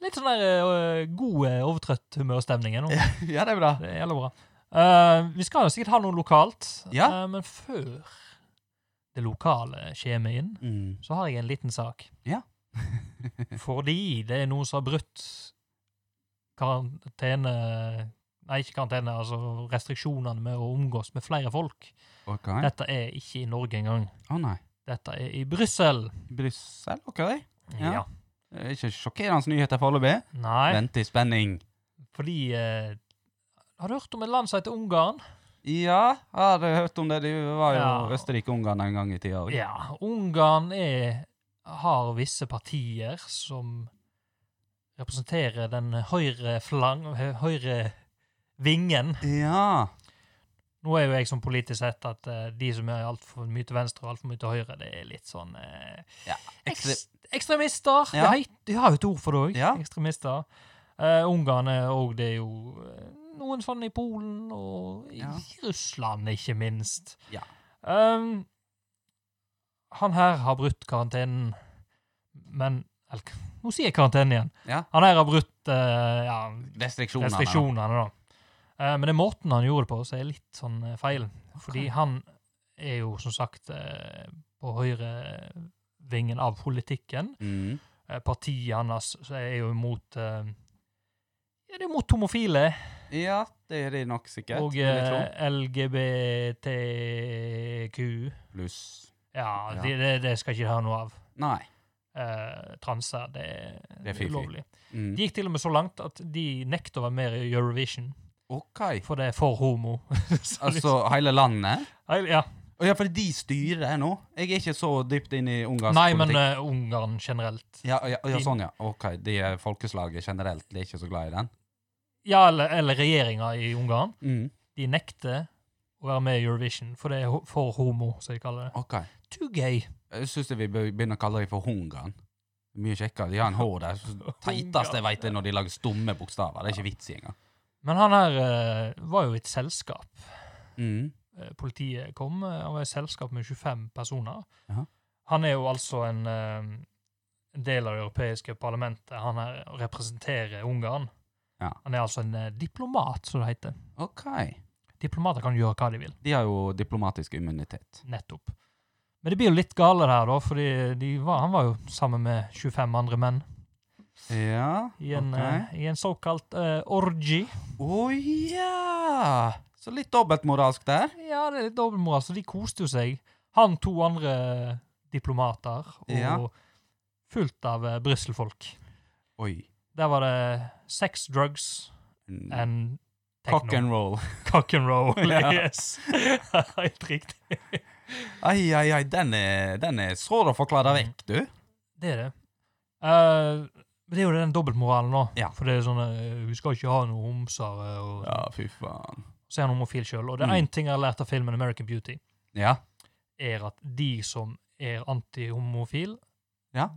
Speaker 2: Litt sånn der eh, god eh, overtrøtt humørstemning nå.
Speaker 3: Ja, det er bra.
Speaker 2: Det gjelder bra. Eh, vi skal jo sikkert ha noe lokalt,
Speaker 3: Ja.
Speaker 2: eh, men før det lokale kommer inn,
Speaker 3: Mm.
Speaker 2: så har jeg en liten sak.
Speaker 3: Ja.
Speaker 2: Fordi det er noen som har brutt karantene Nei, ikke karantene, altså restriksjonene med å omgås med flere folk.
Speaker 3: Ok. Å
Speaker 2: Dette er ikke i Norge engang.
Speaker 3: nei.
Speaker 2: Dette er i Brussel.
Speaker 3: Bryssel, ok. Ja.
Speaker 2: Ja.
Speaker 3: Det er Eh, Ikke sjokkerende nyheter foreløpig.
Speaker 2: Nei,
Speaker 3: Vent i spenning.
Speaker 2: fordi eh, Har du hørt om et land som heter Ungarn?
Speaker 3: Ja, har jeg hørt om det. Det var jo
Speaker 2: Ja.
Speaker 3: Østerrike-Ungarn en gang i tida. også.
Speaker 2: Ja, Ungarn er, har visse partier som representerer den høyre flang... hø- høyre vingen.
Speaker 3: Ja.
Speaker 2: Nå er jo jeg som politisk sett at eh, de som er altfor mye til venstre og altfor mye til høyre, det er litt sånn eh,
Speaker 3: Ja,
Speaker 2: ekstre Ekstremister!
Speaker 3: Ja.
Speaker 2: Det heit, de har jo et ord for det òg.
Speaker 3: Ja.
Speaker 2: Ekstremister. Eh, Ungarn er òg det er jo eh, noen sånn i Polen og i
Speaker 3: Ja.
Speaker 2: Russland, ikke minst.
Speaker 3: Ja.
Speaker 2: Ehm, han her har brutt karantenen, men eller, Nå sier jeg karantene igjen.
Speaker 3: Ja.
Speaker 2: Han her har brutt eh, ja,
Speaker 3: Restriksjonene.
Speaker 2: restriksjonene, da. Eh, men det er måten han gjorde det på, som er litt sånn eh, feil. Fordi han er jo som sagt eh, på høyrevingen av politikken.
Speaker 3: Mm.
Speaker 2: Eh, partiet hans er jo imot eh, ja, det er imot homofile
Speaker 3: Ja, det er det nok sikkert.
Speaker 2: og
Speaker 3: vil jeg tro.
Speaker 2: eh, LGBTQ.
Speaker 3: Pluss
Speaker 2: Ja,
Speaker 3: Ja.
Speaker 2: Det, det, det skal ikke de ha noe av.
Speaker 3: Nei.
Speaker 2: Eh, transer, det, er-
Speaker 3: Det er
Speaker 2: det er
Speaker 3: fy-fy.
Speaker 2: ulovlig.
Speaker 3: Mm.
Speaker 2: De gikk til og med så langt at de nekter å være med i Eurovision,
Speaker 3: OK.
Speaker 2: for det er for homo. Så
Speaker 3: Altså hele landet?
Speaker 2: liksom- ja.
Speaker 3: Å ja, for de styrer nå? Jeg er ikke så dypt inn i ungarsk
Speaker 2: Nei, men
Speaker 3: politikk.
Speaker 2: eh, Ungarn generelt.
Speaker 3: Ja, ja, ja,
Speaker 2: de-
Speaker 3: sånn, ja. OK. De er folkeslaget generelt de er ikke så glad i den.
Speaker 2: Ja, eller, eller regjeringa i Ungarn.
Speaker 3: Mm.
Speaker 2: De nekter å være med i Eurovision, for det er ho- for homo, som de kaller det.
Speaker 3: OK.
Speaker 2: Too gay.
Speaker 3: Jeg syns vi bør begynne å kalle dem for Hungarn. Mye kjekkere. De har en H der. Teiteste jeg veit, er når de lager stumme bokstaver. Det er ikke vits i engang.
Speaker 2: Men han her eh, var jo i et selskap.
Speaker 3: Mm.
Speaker 2: Eh, Politiet kom, eh, han var i et selskap med 25 personer.
Speaker 3: Jaha.
Speaker 2: Han er jo altså en eh, en del av det europeiske parlamentet. Han her representerer Ungarn.
Speaker 3: Ja.
Speaker 2: Han er altså en eh, diplomat, som det heter.
Speaker 3: OK.
Speaker 2: Diplomater kan gjøre hva de vil.
Speaker 3: De har jo diplomatisk immunitet.
Speaker 2: Nettopp. Men det blir jo litt gale det her, da, fordi de var, han var jo sammen med 25 andre menn
Speaker 3: Ja.
Speaker 2: i en,
Speaker 3: ok.
Speaker 2: eh, i en såkalt uh, orgy.
Speaker 3: Å ja! Så litt dobbeltmoralsk der.
Speaker 2: Ja, det er litt dobbeltmoral, så de koste jo seg. Han to andre diplomater, og
Speaker 3: Ja.
Speaker 2: fullt av uh, Brussel-folk.
Speaker 3: Oi.
Speaker 2: Der var det sex, drugs and techno.
Speaker 3: Mm. Cock and roll.
Speaker 2: Cock and roll.
Speaker 3: Ja.
Speaker 2: Yes. Helt riktig.
Speaker 3: Ai, ai, ai, den er, den er svår å forklare vekk, du.
Speaker 2: Det er det. Eh, men det er jo den dobbeltmoralen nå.
Speaker 3: Ja.
Speaker 2: For det er sånn eh, Vi skal ikke ha noe homser. eh, Og
Speaker 3: Ja, fy faen.
Speaker 2: Så er han homofil sjøl. Og det er
Speaker 3: Mm.
Speaker 2: én ting jeg har lært av filmen American Beauty,
Speaker 3: Ja.
Speaker 2: er at de som er antihomofil,
Speaker 3: Ja.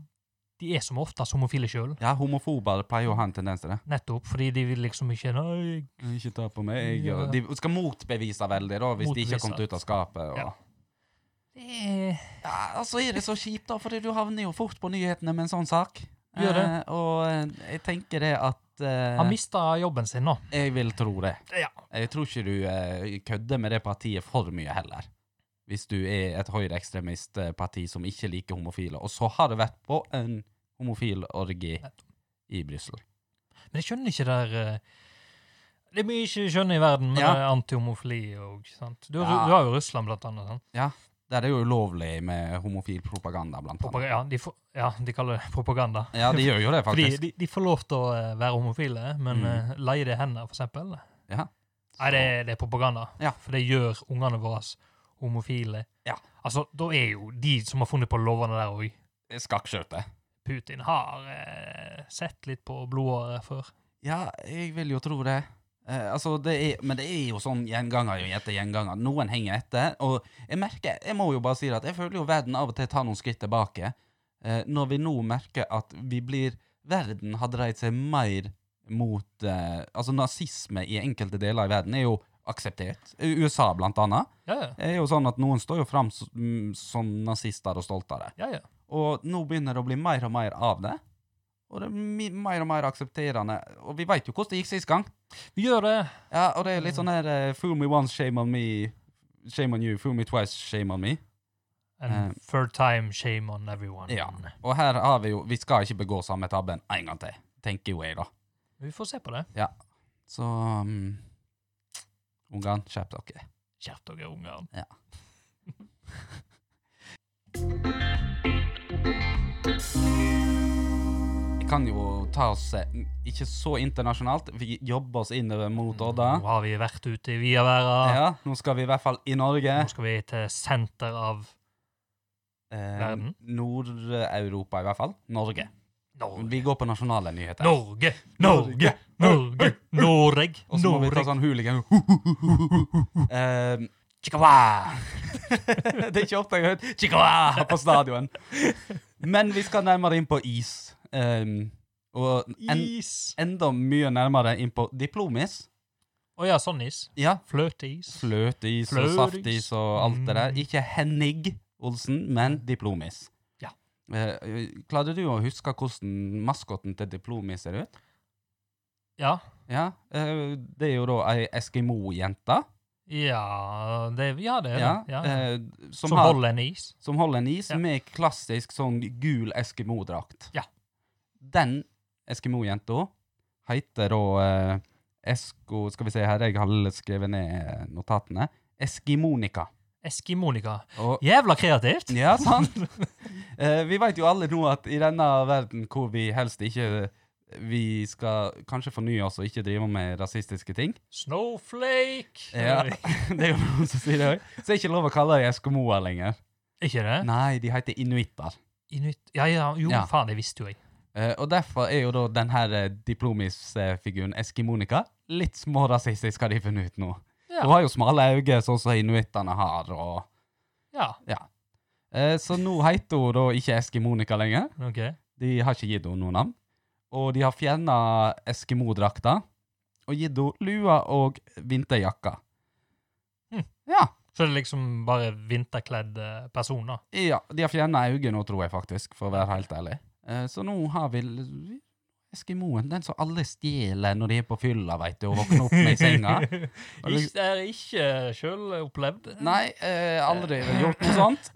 Speaker 2: de er som oftest homofile sjøl.
Speaker 3: ja, homofober pleier jo å ha en tendens til det.
Speaker 2: Nettopp fordi de vil liksom ikke Nei,
Speaker 3: Ikke ta på meg.
Speaker 2: Ja.
Speaker 3: og De skal motbevise veldig, da, hvis de ikke har kommet
Speaker 2: Motbevise.
Speaker 3: ut av skapet. Og...
Speaker 2: Ja. det er
Speaker 3: Ja, altså er det så kjipt, da, fordi du havner jo fort på nyhetene med en sånn sak.
Speaker 2: Gjør det.
Speaker 3: Eh, og eh, jeg tenker det at eh,
Speaker 2: Han mista jobben sin nå.
Speaker 3: Jeg vil tro det.
Speaker 2: Ja.
Speaker 3: Jeg tror ikke du eh, kødder med det partiet for mye heller. Hvis du er et høyreekstremistparti som ikke liker homofile. Og så har det vært på en homofil orgi i Brussel.
Speaker 2: Men jeg skjønner ikke der eh, Det er mye jeg ikke skjønner i verden, men
Speaker 3: Ja.
Speaker 2: det er antihomofili og sant? Du, har-
Speaker 3: Ja.
Speaker 2: du har jo Russland, blant annet. Sant?
Speaker 3: Der er det jo ulovlig med homofil propaganda, blant annet.
Speaker 2: Propaga ja, de får, ja, de kaller det propaganda.
Speaker 3: Ja, de gjør jo det,
Speaker 2: Fordi
Speaker 3: faktisk.
Speaker 2: de, de får lov til å eh, være homofile, men
Speaker 3: Mm.
Speaker 2: eh, leie det hender, for eksempel.
Speaker 3: Ja.
Speaker 2: Nei, det, er- det er propaganda.
Speaker 3: Ja.
Speaker 2: For det gjør ungene våre homofile.
Speaker 3: Ja.
Speaker 2: Altså, da er jo de som har funnet på lovene der òg.
Speaker 3: Skakkskjørte.
Speaker 2: Putin har eh, sett litt på blodåret før.
Speaker 3: Ja, jeg vil jo tro det. Eh, altså, det er, men det er jo sånn gjenganger jo etter gjenganger. Noen henger etter. Og jeg merker, jeg må jo bare si det, at jeg føler jo verden av og til tar noen skritt tilbake. eh, når vi nå merker at vi blir Verden har dreid seg mer mot eh, Altså, nazisme i enkelte deler i verden er jo akseptert. I USA, blant annet.
Speaker 2: Ja, ja.
Speaker 3: er jo sånn at noen står jo fram s- mm, som nazister og stolte av det.
Speaker 2: ja, ja.
Speaker 3: Og nå begynner det å bli mer og mer av det. Og det er mi- mer og mer aksepterende. Og vi veit jo hvordan det gikk sist gang.
Speaker 2: Vi gjør det.
Speaker 3: Ja, og det er litt sånn her eh, Fool me once, shame on me. Shame on you. Fool me twice, shame on me.
Speaker 2: And
Speaker 3: Eh.
Speaker 2: third time, shame on everyone.
Speaker 3: Ja. Og her har vi jo Vi skal ikke begå samme tabben en gang til, tenker jo jeg, da.
Speaker 2: Vi får se på det.
Speaker 3: Så um, Ungene, skjerp dere.
Speaker 2: Skjerp dere, Ungarn.
Speaker 3: Ja. Vi kan jo ta oss eh, ikke så internasjonalt. Vi jobber oss innover mot Odda.
Speaker 2: Nå har vi vært ute i vidaværa.
Speaker 3: Ja, nå skal vi i hvert fall i Norge.
Speaker 2: Nå skal vi til senter av
Speaker 3: Eh,
Speaker 2: Verden.
Speaker 3: Nord-Europa, i hvert fall. Norge.
Speaker 2: Norge.
Speaker 3: Vi går på nasjonale nyheter.
Speaker 2: Norge, Norge, Norge, Noreg,
Speaker 3: Og så må vi ta
Speaker 2: Noreg.
Speaker 3: sånn hooligan Ehm, Chikawa! Det er ikke ofte jeg har hørt Chikawa på stadion. Men vi skal nærmere inn på is. Ehm, og en,
Speaker 2: Is.
Speaker 3: enda mye nærmere inn på diplomis.
Speaker 2: Å ja, sånn is.
Speaker 3: Ja,
Speaker 2: Fløteis.
Speaker 3: Fløteis og
Speaker 2: Fløteis.
Speaker 3: saftis og alt det der. Ikke Henning Olsen, men diplomis.
Speaker 2: Ja.
Speaker 3: Eh, Klarte du å huske hvordan maskotten til Diplomi ser ut?
Speaker 2: Ja.
Speaker 3: Ja, eh, Det er jo da ei Eskimo-jente
Speaker 2: Ja, det, ja, det er det.
Speaker 3: ja,
Speaker 2: Ja.
Speaker 3: eh, som,
Speaker 2: Som,
Speaker 3: har-
Speaker 2: holder en is.
Speaker 3: som holder en is
Speaker 2: Ja.
Speaker 3: med klassisk sånn gul Eskimo-drakt.
Speaker 2: Ja.
Speaker 3: Den Eskimo-jenta heter da eh, Esko Skal vi se her, jeg har skrevet ned notatene. Eskimonika.
Speaker 2: Eskimonika.
Speaker 3: Og
Speaker 2: Jævla kreativt!
Speaker 3: Ja, sant. Eh, vi vet jo alle nå at i denne verden hvor vi helst ikke eh, Vi skal kanskje fornye oss og ikke drive med rasistiske ting.
Speaker 2: Snowflake!
Speaker 3: Ja, Det er jo noen som sier det òg. Så det er ikke lov å kalle dem eskimoer lenger.
Speaker 2: Ikke det?
Speaker 3: Nei, de heter inuitter.
Speaker 2: Inuit Ja, ja, jo,
Speaker 3: Ja.
Speaker 2: faen, det visste jo jeg.
Speaker 3: Eh, og derfor er jo da den her eh, diplomis-figuren Eskimonika litt smårasistisk, har de funnet ut nå.
Speaker 2: Ja.
Speaker 3: Hun har jo smale øyne, sånn som inuittene har, og
Speaker 2: ja.
Speaker 3: Eh, Så nå heter hun da ikke Eskimonika lenger.
Speaker 2: OK.
Speaker 3: De har ikke gitt henne noe navn. Og de har fjerna Eskimo-drakta og gitt henne lua og vinterjakka.
Speaker 2: Hm.
Speaker 3: Ja,
Speaker 2: Så det er liksom bare vinterkledde personer.
Speaker 3: ja. De har fjerna øynene nå, tror jeg faktisk, for å være helt ærlig. Eh, Så nå har vi l- Eskimoen, den som alle stjeler når de er på fylla, veit du, og våkner opp med i senga.
Speaker 2: Ikke, det er ikke sjøl opplevd.
Speaker 3: Nei, eh, aldri gjort noe sånt.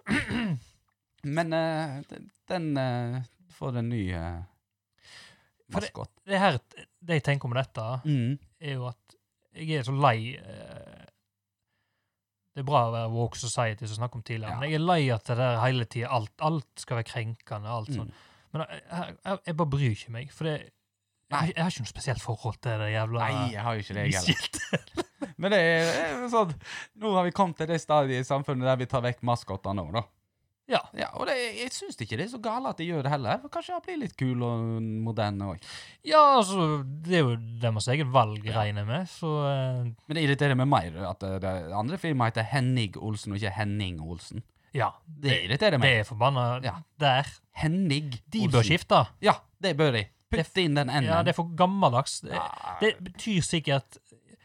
Speaker 3: Men eh, den- den eh, får en ny eh,
Speaker 2: For det-
Speaker 3: maskot.
Speaker 2: Det her, det jeg tenker om dette,
Speaker 3: Mm.
Speaker 2: er jo at jeg er så lei eh, Det er bra å være woke society, som vi snakket om tidligere,
Speaker 3: Ja.
Speaker 2: men jeg er lei at det der hele tida alt, alt skal være krenkende. alt sånn.
Speaker 3: Mm.
Speaker 2: Men jeg, jeg, jeg bare bryr ikke meg, for det,
Speaker 3: Nei.
Speaker 2: jeg, jeg har ikke noe spesielt forhold til det jævla
Speaker 3: Nei, jeg har jo ikke det, jeg heller.
Speaker 2: Shit.
Speaker 3: Men det er, er jo sånn Nå har vi kommet til det stadiet i samfunnet der vi tar vekk maskottene òg, da.
Speaker 2: Ja.
Speaker 3: Ja, og det, jeg syns ikke det er så gale at de gjør det heller. For kanskje han blir litt kul og moderne òg.
Speaker 2: ja, altså, det er jo deres eget valg, regner jeg med, så eh,
Speaker 3: Men det irriterer meg mer at det, det andre firmaet heter Henning Olsen og ikke Henning Olsen.
Speaker 2: ja.
Speaker 3: Det irriterer
Speaker 2: Det
Speaker 3: meg.
Speaker 2: er forbanna
Speaker 3: Ja.
Speaker 2: der.
Speaker 3: Henning
Speaker 2: De bør skifte.
Speaker 3: Ja, det bør de. Putt inn den
Speaker 2: Ja,
Speaker 3: n-en.
Speaker 2: det er for gammeldags. Det,
Speaker 3: Ah,
Speaker 2: det betyr sikkert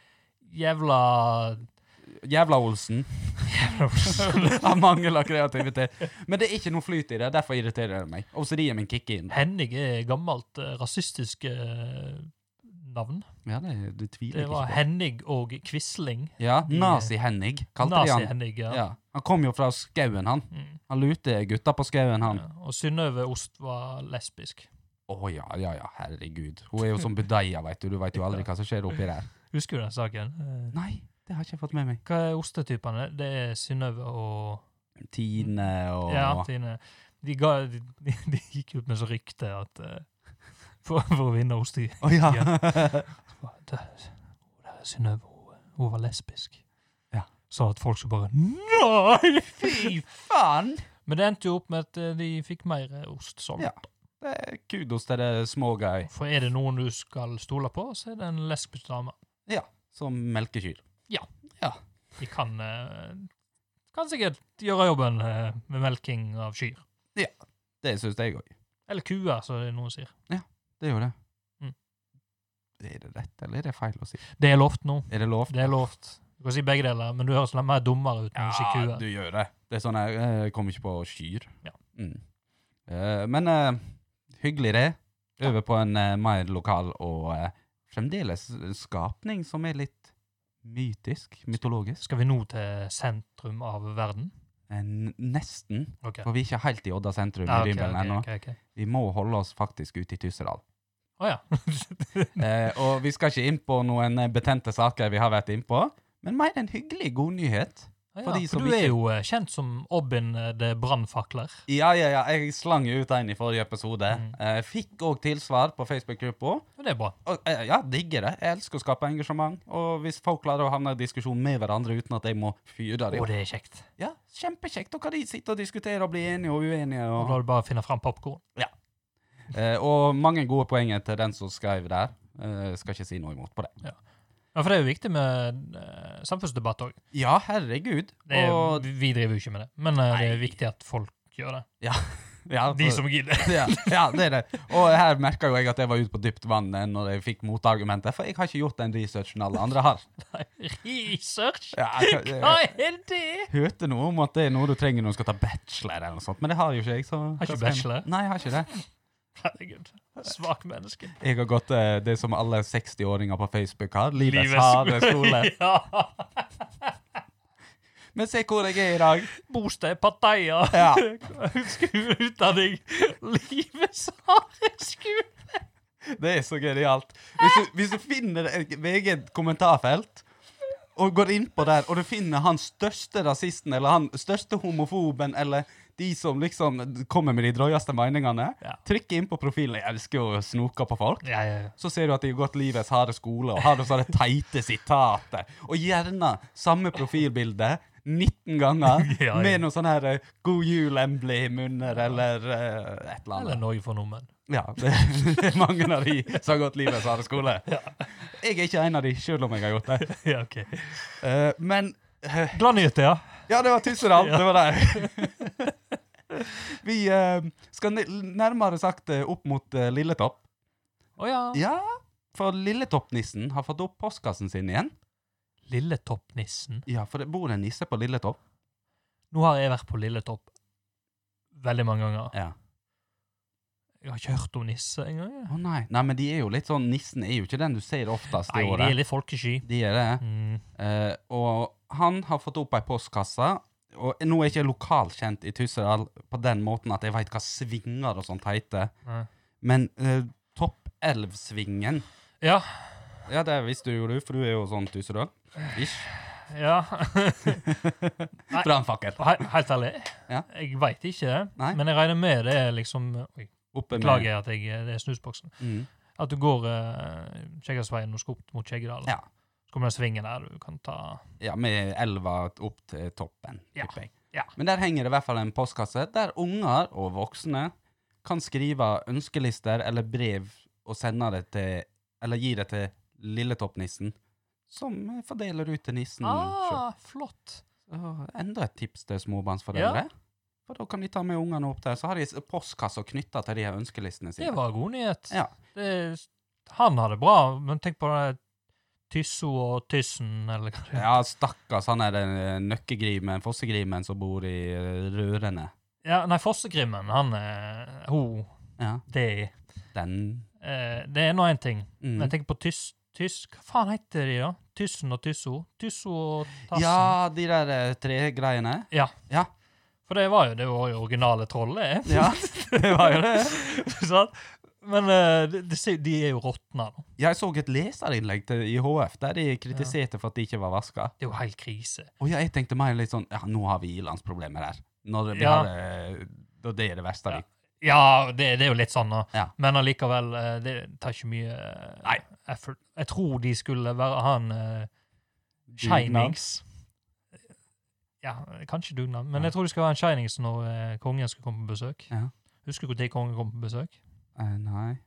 Speaker 2: jævla
Speaker 3: Jævla Olsen. Han mangler kreativitet. Men det er ikke noe flyt i det, derfor irriterer det meg. Og så de gir meg en kick inn.
Speaker 2: Henning er gammelt eh, rasistisk eh, navn.
Speaker 3: Ja, det, det tviler
Speaker 2: Det
Speaker 3: jeg
Speaker 2: var
Speaker 3: ikke på.
Speaker 2: Henning og Quisling.
Speaker 3: Ja, Nazi-Henning kalte de han.
Speaker 2: Nazi-Henning, ja.
Speaker 3: Ja. Han kom jo fra skauen, han.
Speaker 2: Mm.
Speaker 3: Han lurte gutta på skauen, han.
Speaker 2: Ja, Og Synnøve Ost var lesbisk.
Speaker 3: Å ja, ja, ja, herregud. Hun er jo som budeia, veit du. Du veit jo aldri hva som skjer oppi der.
Speaker 2: Husker du den saken? Eh,
Speaker 3: Nei, det har ikke jeg fått med meg.
Speaker 2: Hva er ostetypene? Det er Synnøve og
Speaker 3: Tine og
Speaker 2: Ja, Tine. De, ga, de, de, de gikk ut med så rykte at eh, for, for å vinne ost i
Speaker 3: Å ja.
Speaker 2: Det- det er Synnøve hun, hun var lesbisk.
Speaker 3: Ja.
Speaker 2: Sa at folk skulle bare Nei!
Speaker 3: Fy faen!
Speaker 2: Men det endte jo opp med at eh, de fikk mer eh, ost solgt.
Speaker 3: Ja. Det er kudos til det småguy
Speaker 2: For er det noen du skal stole på, så er det en lesbisk dame.
Speaker 3: som melkekyr.
Speaker 2: De kan, eh, kan sikkert gjøre jobben eh, med melking av kyr.
Speaker 3: Det syns jeg òg.
Speaker 2: Eller kuer, som det noen sier.
Speaker 3: Det er jo det.
Speaker 2: Mm.
Speaker 3: Er det rett, eller er det feil å si?
Speaker 2: Det er lovt nå.
Speaker 3: Er det lov?
Speaker 2: Det er lovt. Du kan si begge deler, men du høres litt mer dummere ut når du sier kuer.
Speaker 3: du gjør det. Det er sånn her, eh, jeg kommer ikke på skyr.
Speaker 2: Ja.
Speaker 3: Mm. Eh, men eh, hyggelig det. Over på en eh, mer lokal og eh, fremdeles skapning som er litt mytisk, mytologisk.
Speaker 2: Skal vi nå til sentrum av verden?
Speaker 3: En, nesten,
Speaker 2: Ok.
Speaker 3: for vi er ikke helt i Odda sentrum i
Speaker 2: Ah, ok,
Speaker 3: Rimbelen
Speaker 2: ok,
Speaker 3: ennå.
Speaker 2: ok, ok.
Speaker 3: Vi må holde oss faktisk ute i Tyssedal.
Speaker 2: Å ja.
Speaker 3: Eh, og vi skal ikke inn på noen eh, betente saker vi har vært inn på, men mer en hyggelig god nyhet.
Speaker 2: Ah, ja.
Speaker 3: For de som
Speaker 2: For du
Speaker 3: ikke-
Speaker 2: er jo eh, kjent som Obin eh, det brannfakler.
Speaker 3: Ja, ja, ja, jeg slang jo ut en i forrige episode.
Speaker 2: Mm.
Speaker 3: Eh, fikk òg tilsvar på Facebook-gruppa.
Speaker 2: Og det er bra.
Speaker 3: Og, eh, ja, digger det. Jeg elsker å skape engasjement. Og hvis folk klarer å havne i diskusjon med hverandre uten at jeg må fyre
Speaker 2: Og
Speaker 3: dem
Speaker 2: det er kjekt.
Speaker 3: Ja, Kjempekjekt. Da kan de sitte og diskutere og bli enige og uenige.
Speaker 2: Og
Speaker 3: Og,
Speaker 2: da er det bare å finne fram popkorn.
Speaker 3: eh, og mange gode poenger til den som skrev der. Eh, skal ikke si noe imot på det.
Speaker 2: Ja, for det er jo viktig med eh, samfunnsdebatt òg.
Speaker 3: Ja, herregud.
Speaker 2: Det er-
Speaker 3: Og
Speaker 2: Vi driver jo ikke med det, men eh, det
Speaker 3: Nei.
Speaker 2: er viktig at folk gjør det.
Speaker 3: Ja,
Speaker 2: De
Speaker 3: for-
Speaker 2: som gidder.
Speaker 3: ja, ja, det er det. Og her merka jo jeg at jeg var ute på dypt vann eh, når jeg fikk motargumenter, for jeg har ikke gjort den researchen alle andre har.
Speaker 2: Research?
Speaker 3: Ja, jeg- jeg-
Speaker 2: Hva er det?
Speaker 3: hørte noe om at det er noe du trenger når du skal ta bachelor, eller noe sånt, men det har jo ikke jeg. Så
Speaker 2: Har ikke bachelor?
Speaker 3: Nei, jeg har ikke det.
Speaker 2: Herregud. Svakt menneske.
Speaker 3: Jeg har gått eh, det som alle 60-åringer på Facebook har, livets, harde skole.
Speaker 2: ja.
Speaker 3: Men se hvor jeg er i dag.
Speaker 2: Bosted, Pattaya.
Speaker 3: Ja.
Speaker 2: Skole, utdanning. Livets harde skole.
Speaker 3: Det er så genialt. Hvis du, hvis du finner et VG-kommentarfelt og går innpå der, og du finner han største rasisten eller han største homofoben eller de som liksom kommer med de drøyeste meningene,
Speaker 2: Ja.
Speaker 3: trykk inn på profilen. Jeg elsker jo å snoke på folk.
Speaker 2: Ja, ja, ja.
Speaker 3: Så ser du at de har gått livets harde skole og har det sånne teite sitater. Og gjerne samme profilbilde 19 ganger
Speaker 2: Ja, ja.
Speaker 3: med noe sånn her eh, 'God jul-emblem' under eller eh, et eller annet.
Speaker 2: Eller Norge for nordmenn.
Speaker 3: Ja, det det er mange av de som har gått livets harde skole. Jeg er ikke en av de, selv om jeg har gjort det.
Speaker 2: Ja, ok.
Speaker 3: Eh, men eh,
Speaker 2: Glad nyheter, ja.
Speaker 3: Ja, det var Tyssedal.
Speaker 2: Ja.
Speaker 3: Det var der. Vi eh, skal ne- nærmere sagt eh, opp mot eh, Lilletopp.
Speaker 2: Å ja.
Speaker 3: Ja, for Lilletoppnissen har fått opp postkassen sin igjen.
Speaker 2: Lilletoppnissen.
Speaker 3: Ja, for det bor en nisse på Lilletopp.
Speaker 2: Nå har jeg vært på Lilletopp veldig mange ganger.
Speaker 3: Ja.
Speaker 2: Jeg har ikke hørt om nisse engang. jeg.
Speaker 3: Å nei. nei, men de er jo litt sånn Nissen er jo ikke den du ser oftest i
Speaker 2: Nei, de er
Speaker 3: året.
Speaker 2: litt folkesky.
Speaker 3: De er det.
Speaker 2: Mm.
Speaker 3: Eh, og han har fått opp ei postkasse. Og nå er jeg ikke lokalkjent i Tyssedal på den måten at jeg veit hva svinger og sånt heter,
Speaker 2: Nei.
Speaker 3: men eh, Toppelvsvingen
Speaker 2: Ja.
Speaker 3: Ja, det visste du jo, du, for du er jo sånn Tyssedal. Ish.
Speaker 2: ja.
Speaker 3: Brannfakkel.
Speaker 2: He- Helt ærlig,
Speaker 3: Ja.
Speaker 2: jeg veit ikke det.
Speaker 3: Nei.
Speaker 2: Men jeg regner med det er liksom Oi,
Speaker 3: Oppe med-
Speaker 2: beklager jeg at jeg, det er snusboksen.
Speaker 3: Mm.
Speaker 2: At du går uh, Kjeggersveien og skal opp mot Kjeggedal.
Speaker 3: Ja.
Speaker 2: Så kommer det en svingen der du kan ta
Speaker 3: Ja, med elva opp til toppen,
Speaker 2: Ja.
Speaker 3: tipper jeg.
Speaker 2: Ja.
Speaker 3: Men der henger det i hvert fall en postkasse der unger og voksne kan skrive ønskelister eller brev og sende det til Eller gi det til Lilletoppnissen, som fordeler ut til nissen sjøl.
Speaker 2: Ah, flott!
Speaker 3: Enda et tips til småbarnsforeldre.
Speaker 2: Ja.
Speaker 3: For da kan de ta med ungene opp der, så har de s- postkasser knytta til de her ønskelistene
Speaker 2: Det
Speaker 3: sine.
Speaker 2: var god nyhet.
Speaker 3: Ja.
Speaker 2: Det, han har det bra, men tenk på det Tysso og Tyssen, eller hva det er.
Speaker 3: Ja, stakkars han er den eh, nøkkegrimen, fossegrimen, som bor i eh, rørene.
Speaker 2: Ja, nei, Fossegrimmen, han er Ho,
Speaker 3: Ja,
Speaker 2: det er
Speaker 3: den
Speaker 2: eh, Det er nå én ting,
Speaker 3: mm.
Speaker 2: men jeg tenker på Tyss Tyss, Hva faen heter de, da? Tyssen og Tysso? Tysso og Tassen?
Speaker 3: Ja, de der eh, tregreiene.
Speaker 2: For det var jo det var jo originale trollet, eh.
Speaker 3: Ja, det var jo det.
Speaker 2: sant? Men eh, det- det ser- de er jo råtna nå.
Speaker 3: Jeg så et leserinnlegg til, i HF der de kritiserte for at de ikke var vaska.
Speaker 2: Det er jo helt krise.
Speaker 3: Og ja, jeg tenkte mer litt sånn Ja, nå har vi ilandsproblemer her. Når vi
Speaker 2: Ja.
Speaker 3: har eh, da Det er det verste. vi-
Speaker 2: Ja, det, det er jo litt sånn, da.
Speaker 3: Ja.
Speaker 2: Men allikevel, eh, det tar ikke mye eh,
Speaker 3: Nei.
Speaker 2: effort. Jeg tror de skulle være han eh, Shinings. Ja, kanskje dugnad, men
Speaker 3: Ja.
Speaker 2: jeg tror de skal være en Shinings når eh, kongen skal komme på besøk.
Speaker 3: Ja.
Speaker 2: Husker du når kongen kom på besøk?
Speaker 3: Eh, nei.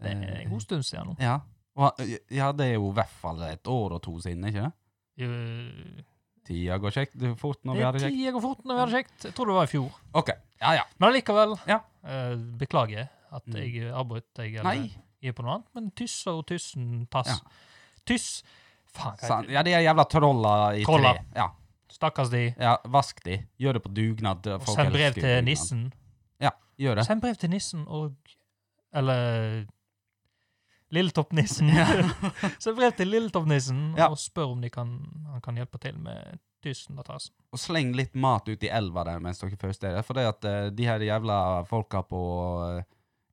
Speaker 2: Det er
Speaker 3: Eh,
Speaker 2: en god stund siden nå.
Speaker 3: ja. Og, eh, ja, det er jo i hvert fall et år og to siden, ikke
Speaker 2: Eh,
Speaker 3: Tida går kjekt det er fort når vi
Speaker 2: Det
Speaker 3: har
Speaker 2: er
Speaker 3: det kjekt.
Speaker 2: tida går fort når vi hadde kjekt. Jeg tror det var i fjor.
Speaker 3: OK. Ja, ja.
Speaker 2: Men allikevel,
Speaker 3: Ja.
Speaker 2: eh, beklager at
Speaker 3: Mm.
Speaker 2: jeg avbrøt deg. eller
Speaker 3: Nei.
Speaker 2: gir på noe annet, men tyss og tyssen tass.
Speaker 3: Ja.
Speaker 2: Tyss Faen, hva
Speaker 3: Sa-
Speaker 2: heter det?
Speaker 3: Ja, de er jævla trolla i
Speaker 2: Trolla.
Speaker 3: tre. Ja.
Speaker 2: Stakkars de.
Speaker 3: ja. Vask de. Gjør det på dugnad. eh,
Speaker 2: Og
Speaker 3: folk
Speaker 2: Send brev
Speaker 3: elsker jo
Speaker 2: til
Speaker 3: dugnad.
Speaker 2: nissen.
Speaker 3: Gjør det.
Speaker 2: Send brev til nissen og Eller Lilletoppnissen. Send brev til Lilletoppnissen
Speaker 3: Ja.
Speaker 2: og spør om de kan, han kan hjelpe til med tyssen og tassen.
Speaker 3: og sleng litt mat ut i elva der mens dere først er der. For det at eh, de her jævla folka på eh,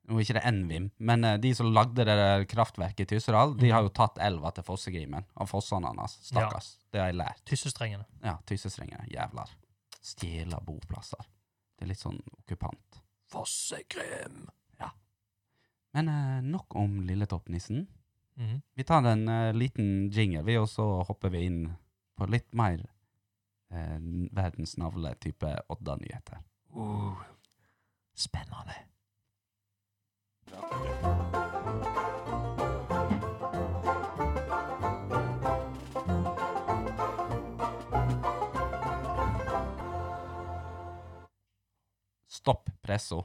Speaker 3: Nå er ikke det Envim, men eh, de som lagde det der kraftverket i Tyssedal, de
Speaker 2: Mhm.
Speaker 3: har jo tatt elva til Fossegrimen av fossene hans. Stakkars. Det har jeg lært.
Speaker 2: Tyssestrengene.
Speaker 3: Ja, tyssestrengene. Jævlar. Stjeler boplasser. Det er litt sånn okkupant.
Speaker 2: Fossegrim!
Speaker 3: Men eh, nok om Lilletoppnissen.
Speaker 2: Mhm.
Speaker 3: Vi tar en eh, liten jingle, vi, og så hopper vi inn på litt mer eh, verdens navle-type Odda-nyheter.
Speaker 2: Uh. Spennende.
Speaker 3: Stopp presso.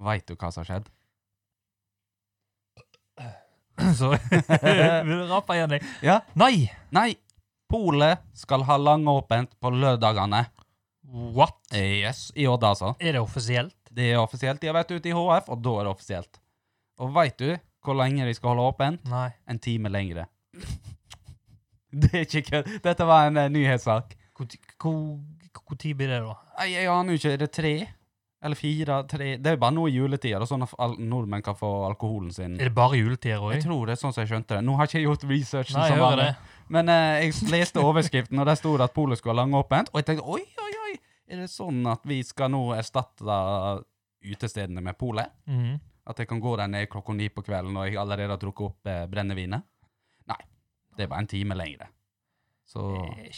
Speaker 3: Veit du hva som har skjedd?
Speaker 2: Så Vil du rappe igjen deg?
Speaker 3: Ja.
Speaker 2: Nei!
Speaker 3: Nei! Polet skal ha langåpent på lørdagene.
Speaker 2: What?
Speaker 3: Yes, i Odda, altså.
Speaker 2: Er det offisielt?
Speaker 3: Det er offisielt. De har vært ute i HF, og da er det offisielt. Og veit du hvor lenge de skal holde åpent?
Speaker 2: Nei.
Speaker 3: En time lengre. Det er ikke kødd. Dette var en eh, nyhetssak.
Speaker 2: Hvor ti- hvor- hvor tid blir det, da?
Speaker 3: Nei, Jeg aner jo ikke. Er det tre? Eller fire? Tre? Det er jo bare nå i juletider, og sånn at al- nordmenn kan få alkoholen sin.
Speaker 2: Er det bare juletider òg?
Speaker 3: Jeg tror det er sånn som jeg skjønte det. Nå har ikke jeg gjort researchen
Speaker 2: Nei, jeg
Speaker 3: som
Speaker 2: hører
Speaker 3: vanlig.
Speaker 2: det.
Speaker 3: Men eh, jeg leste overskriften, og der sto det at polet skulle ha langåpent. Og jeg tenkte oi, oi, oi, er det sånn at vi skal nå erstatte utestedene med polet?
Speaker 2: Mhm.
Speaker 3: At jeg kan gå der ned klokka ni på kvelden og jeg allerede har drukket opp eh, brennevinet? Nei. Det var en time lengre. Så
Speaker 2: Det er